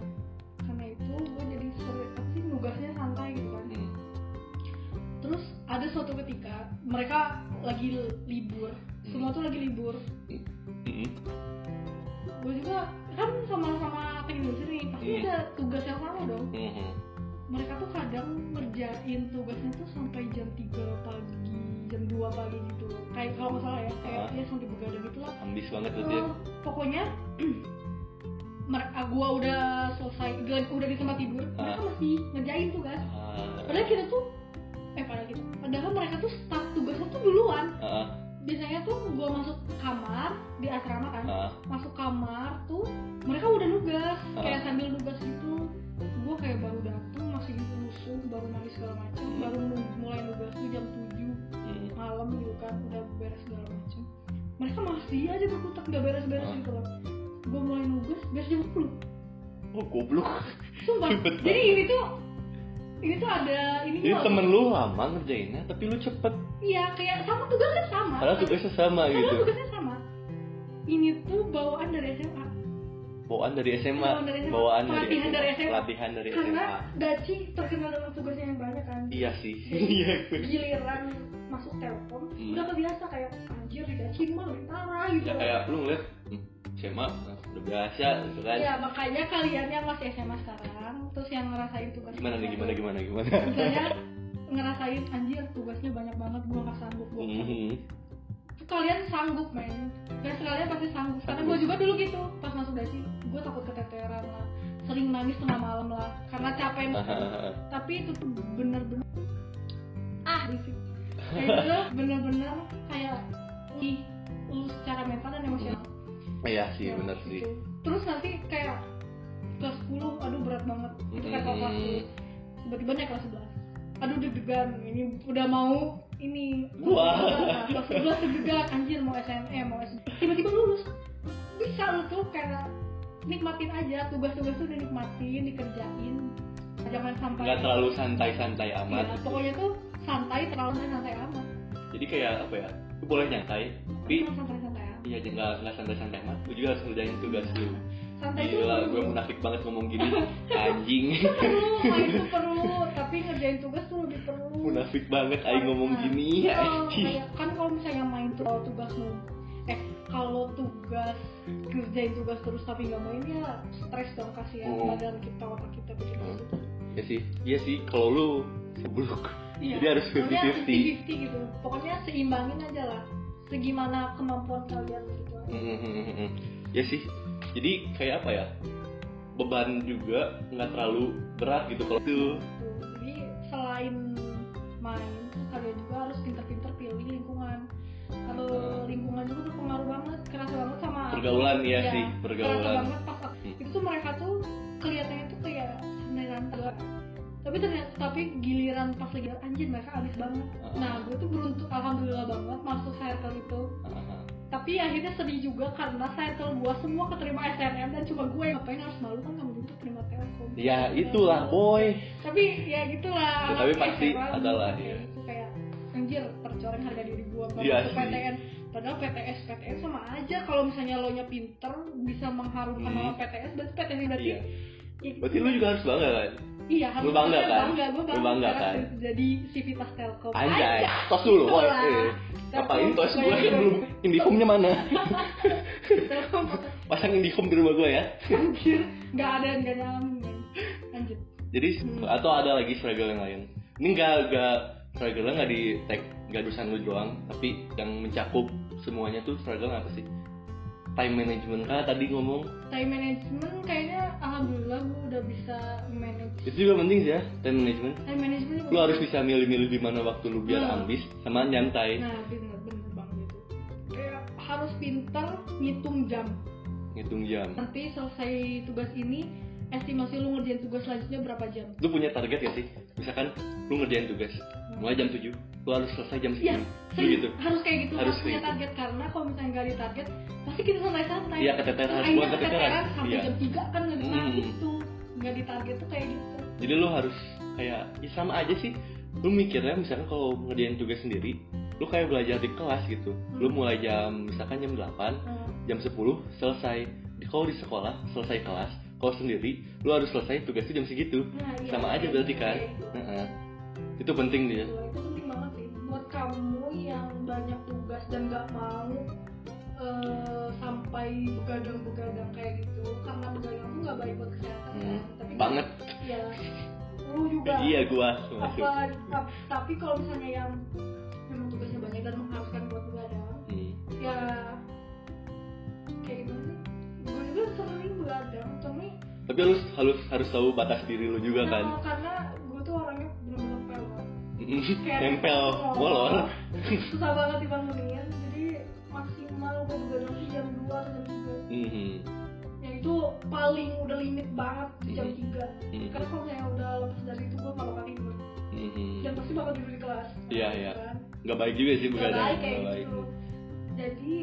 B: karena itu gua jadi seri- apa sih nugasnya santai gitu kan
A: mm.
B: terus ada suatu ketika mereka lagi libur semua tuh lagi libur
A: Mm-mm.
B: gue juga kan sama-sama teknik industri nih pasti
A: Hmm.
B: ada tugas yang sama dong
A: Mm-mm.
B: mereka tuh kadang ngerjain tugasnya tuh sampai jam 3 pagi jam 2 pagi gitu loh kayak kalau nggak salah ya kayak
A: Ah.
B: ya sampai begadang gitu lah
A: ambis banget ya. tuh dia
B: Eh, pokoknya mereka gua udah selesai udah- udah di tempat tidur mereka
A: Ah.
B: masih ngerjain tugas
A: Ah,
B: padahal kita tuh eh padahal kita padahal mereka tuh start tugasnya tuh duluan
A: ah,
B: biasanya tuh gua masuk kamar di asrama kan
A: ah,
B: masuk kamar tuh mereka udah nugas
A: Ah.
B: kayak sambil nugas gitu gue kayak baru dateng masih musuh baru mandi segala macam
A: Hmm.
B: baru nu- mulai nugas tuh jam 7
A: hmm,
B: malam gitu kan udah beres segala macam mereka masih aja berkutat nggak beres-beres
A: Ah.
B: gitu loh gue mulai nugas beres jam 10
A: oh goblok
B: sumpah
A: Cepet
B: jadi
A: banget.
B: ini tuh ini tuh ada ini
A: jadi temen lu lama ngerjainnya tapi lu cepet
B: iya kayak sama tugasnya sama
A: padahal tugasnya sama
B: Padahal
A: gitu
B: tugasnya sama ini tuh bawaan dari SMA
A: bawaan dari SMA
B: Bawaan dari SMA.
A: bawaan Iya, dari
B: Pelatihan dari SMA.
A: latihan dari
B: karena
A: SMA
B: Daci terkenal dengan tugasnya yang banyak kan
A: iya sih iya gue
B: giliran masuk telkom
A: Hmm.
B: udah kebiasa kayak anjir di Daci mah lebih parah gitu
A: ya kayak lu ngeliat hmm, SMA nah, udah biasa gitu kan
B: ya makanya kalian yang masih SMA sekarang terus yang ngerasain tugas
A: gimana nih gimana gimana gimana
B: misalnya ngerasain anjir tugasnya banyak banget gua gak sanggup gua
A: Mhm.
B: nggak sanggup." kalian sanggup men guys kalian pasti sanggup karena gua juga dulu gitu pas masuk Daci gua takut keteteran lah sering nangis tengah malam lah karena capek tapi itu tuh bener-bener ah berisik kayak itu bener-bener kayak ih lu secara mental dan emosional
A: iya sih bener sih
B: Gitu. terus nanti kayak kelas 10 aduh berat banget itu kayak kalau kelas
A: Mhm.
B: 10 tiba-tiba naik kelas 11 aduh deg-degan ini udah mau ini
A: Wah.
B: kelas 11 deg-degan anjir mau SNM mau SNM tiba-tiba lulus bisa lu tuh kayak nikmatin aja tugas-tugas tuh dinikmatin dikerjain jangan sampai
A: nggak terlalu santai-santai
B: Iya,
A: amat
B: pokoknya tuh santai, terlalu santai amat.
A: jadi kayak apa ya lu boleh nyantai tapi
B: Cuma santai-santai amat.
A: iya jangan nggak- nggak santai-santai amat lu juga harus ngerjain tugas lu
B: Santai itu
A: gila
B: perlu.
A: gue munafik banget ngomong gini anjing
B: Perlu, main itu perlu, tapi ngerjain tugas tuh lebih perlu.
A: munafik banget aing ngomong
B: Nah,
A: gini
B: iya,
A: anjing
B: kayak- kan kalau misalnya main tuh kalau tugas lu eh kalau tugas kerjain tugas terus tapi nggak main ya stres dong kasihan
A: Hmm.
B: badan kita otak kita bikin gitu.
A: Hmm. ya sih iya sih kalau lu goblok Jadi harus 50-50.
B: 50 Iya. gitu pokoknya seimbangin aja lah segimana kemampuan kalian gitu aja.
A: Mhm. ya sih jadi kayak apa ya beban juga nggak terlalu berat gitu kalau itu
B: Gitu. jadi selain main terus kalian juga harus pinter-pinter pilih lingkungan kalau lingkungan juga berpengaruh banget kerasa banget sama
A: pergaulan ya,
B: Iya,
A: sih
B: kerasa
A: pergaulan
B: banget pas
A: Hmm.
B: itu tuh mereka tuh kelihatannya tuh kayak beneran tua tapi ternyata tapi giliran pas lagi anjir mereka habis banget
A: Ah.
B: nah gue tuh beruntung alhamdulillah banget masuk circle itu
A: Ah,
B: tapi akhirnya sedih juga karena circle gue semua keterima SNM dan cuma gue yang ngapain harus malu kan kamu dulu terima telkom
A: ya itulah boy
B: tapi ya gitulah
A: Ya, tapi
B: anaknya
A: pasti
B: SMA,
A: ada lah,
B: kayak
A: iya.
B: gitu, kayak anjir tercoreng harga diri gua
A: Iya
B: banget ke
A: sih.
B: PTN padahal PTS PTN sama aja kalau misalnya lo nya pinter bisa mengharumkan
A: Hmm.
B: nama PTS berarti PTS berarti ya
A: iya berarti lu juga harus bangga kan
B: iya harus
A: lu bangga
B: gua
A: kan?
B: bangga gua
A: Lu
B: bangga,
A: bangga
B: karena
A: kan?
B: jadi sivitas telkom
A: anjay
B: Aja.
A: tos dulu boy
B: Itulah.
A: Eh, ngapain tos
B: Telkom
A: gue
B: gua
A: kan
B: yang-
A: belum indihome-nya mana
B: telkom gua-
A: pasang indihome di rumah gue ya
B: anjir nggak ada nggak nyalamin men. lanjut
A: jadi
B: Hmm.
A: atau ada lagi struggle yang lain ini nggak nggak struggle nggak di tag nggak jurusan lu doang tapi yang mencakup semuanya tuh struggle apa sih time management kan tadi ngomong
B: time management kayaknya alhamdulillah gua udah bisa manage
A: itu juga penting sih ya time management
B: time management
A: lu harus bisa milih-milih di mana waktu lu biar
B: Hmm.
A: ambis sama nyantai
B: Nah, bener bener banget itu. Kayak harus pinter ngitung jam.
A: ngitung jam
B: Nanti selesai tugas ini, estimasi lu ngerjain tugas selanjutnya berapa jam?
A: lu punya target gak sih misalkan lu ngerjain tugas mulai jam 7 lu harus selesai jam 9
B: Iya,
A: Lu
B: sering-
A: gitu
B: harus kayak gitu
A: Harus
B: harus punya
A: kayak gitu.
B: target karena kalau misalnya nggak ada target pasti kita santai-santai.
A: Iya, keteteran,
B: Terus
A: bukan
B: akhirnya
A: keteteran.
B: keteteran sampai
A: Iya.
B: jam 3 kan nggak nah,
A: Hmm.
B: gitu. Nggak di target tuh kayak gitu.
A: jadi lu harus kayak ya sama aja sih lu mikirnya misalkan kalau ngerjain tugas sendiri lu kayak belajar di kelas gitu lu mulai jam misalkan jam 8
B: Nah,
A: jam 10 selesai Di- kalau di sekolah selesai kelas kalau sendiri lu harus selesai tugas itu jam segitu
B: nah, iya,
A: sama aja
B: kayak
A: berarti
B: gitu,
A: kan
B: kayak gitu.
A: Heeh. itu penting dia
B: Wah, itu penting banget sih buat kamu yang banyak tugas dan nggak mau eh, sampai begadang-begadang kayak gitu karena begadang tuh nggak baik buat kesehatan
A: Hmm,
B: kan. tapi
A: banget
B: ya lu juga
A: iya gua masuk
B: apa tap- tapi kalau misalnya yang memang tugasnya banyak dan mengharuskan buat begadang
A: Hmm.
B: ya kayak gimana gue juga sering begadang tapi
A: tapi harus harus harus tahu batas diri lu juga kan Hmm.
B: nah, karena gue tuh orangnya bener-bener pelor Kayak
A: nempel molor
B: susah banget dibangunin jadi maksimal gue begadang tuh jam 2 atau jam
A: Mhm.
B: 3 yang itu paling udah limit banget di jam 3
A: Mhm.
B: karena kalau saya udah lepas dari itu gue gak bakal tidur
A: Mhm.
B: dan pasti bakal tidur di kelas
A: Iya, iya.
B: Kan?
A: nggak baik juga sih
B: Gak
A: begadang
B: baik kayak
A: nggak baik
B: gitu jadi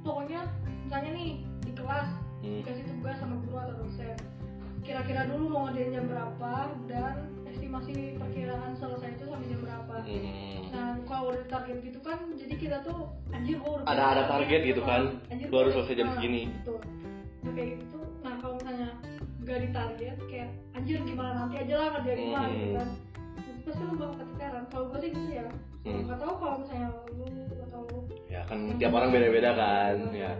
B: pokoknya misalnya nih di kelas
A: Hmm.
B: dikasih tugas sama guru atau dosen kira-kira dulu mau ngerjain jam berapa dan estimasi perkiraan selesai itu sampai jam berapa
A: Mhm.
B: Nah, kalau udah target gitu kan, jadi kita tuh anjir gua udah
A: Ada- ada target gitu kan, lu
B: Anjir, gua
A: harus
B: udah-
A: selesai jam
B: nah,
A: segini.
B: Gitu. Nah, kayak gitu. Nah, kalau misalnya gak di target kayak anjir gimana nanti aja lah kerjain
A: Hmm.
B: gua gitu kan. Jadi pasti lu bakal keteteran. Kalau gue sih gitu ya.
A: Hmm.
B: Gak tau kalau misalnya lu atau lu. Iya,
A: ya kan tiap orang beda-beda kan ya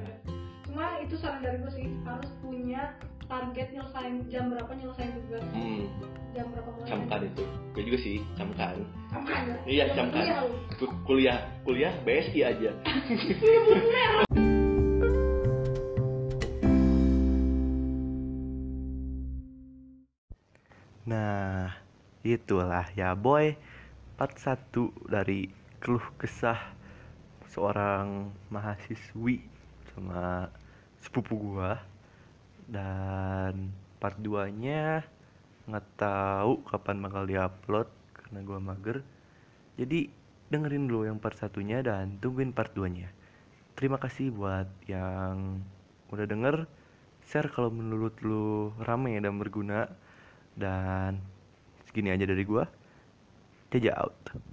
B: Cuma itu saran dari gue sih harus punya target nyelesain jam berapa nyelesain tugas,
A: Hmm,
B: jam berapa mulai.
A: camkan itu gue juga sih camkan
B: Camkan ya?
A: Iya,
B: Jam
A: camkan.
B: kuliah lu.
A: Ku- kuliah kuliah BSI aja
C: Nah, itulah ya boy part 1 dari keluh kesah seorang mahasiswi sama sepupu gua dan part 2-nya nggak tahu kapan bakal diupload karena gua mager. Jadi dengerin dulu yang part satunya dan tungguin part 2-nya. Terima kasih buat yang udah denger. Share kalau menurut lu rame dan berguna. Dan segini aja dari gua. Teja out.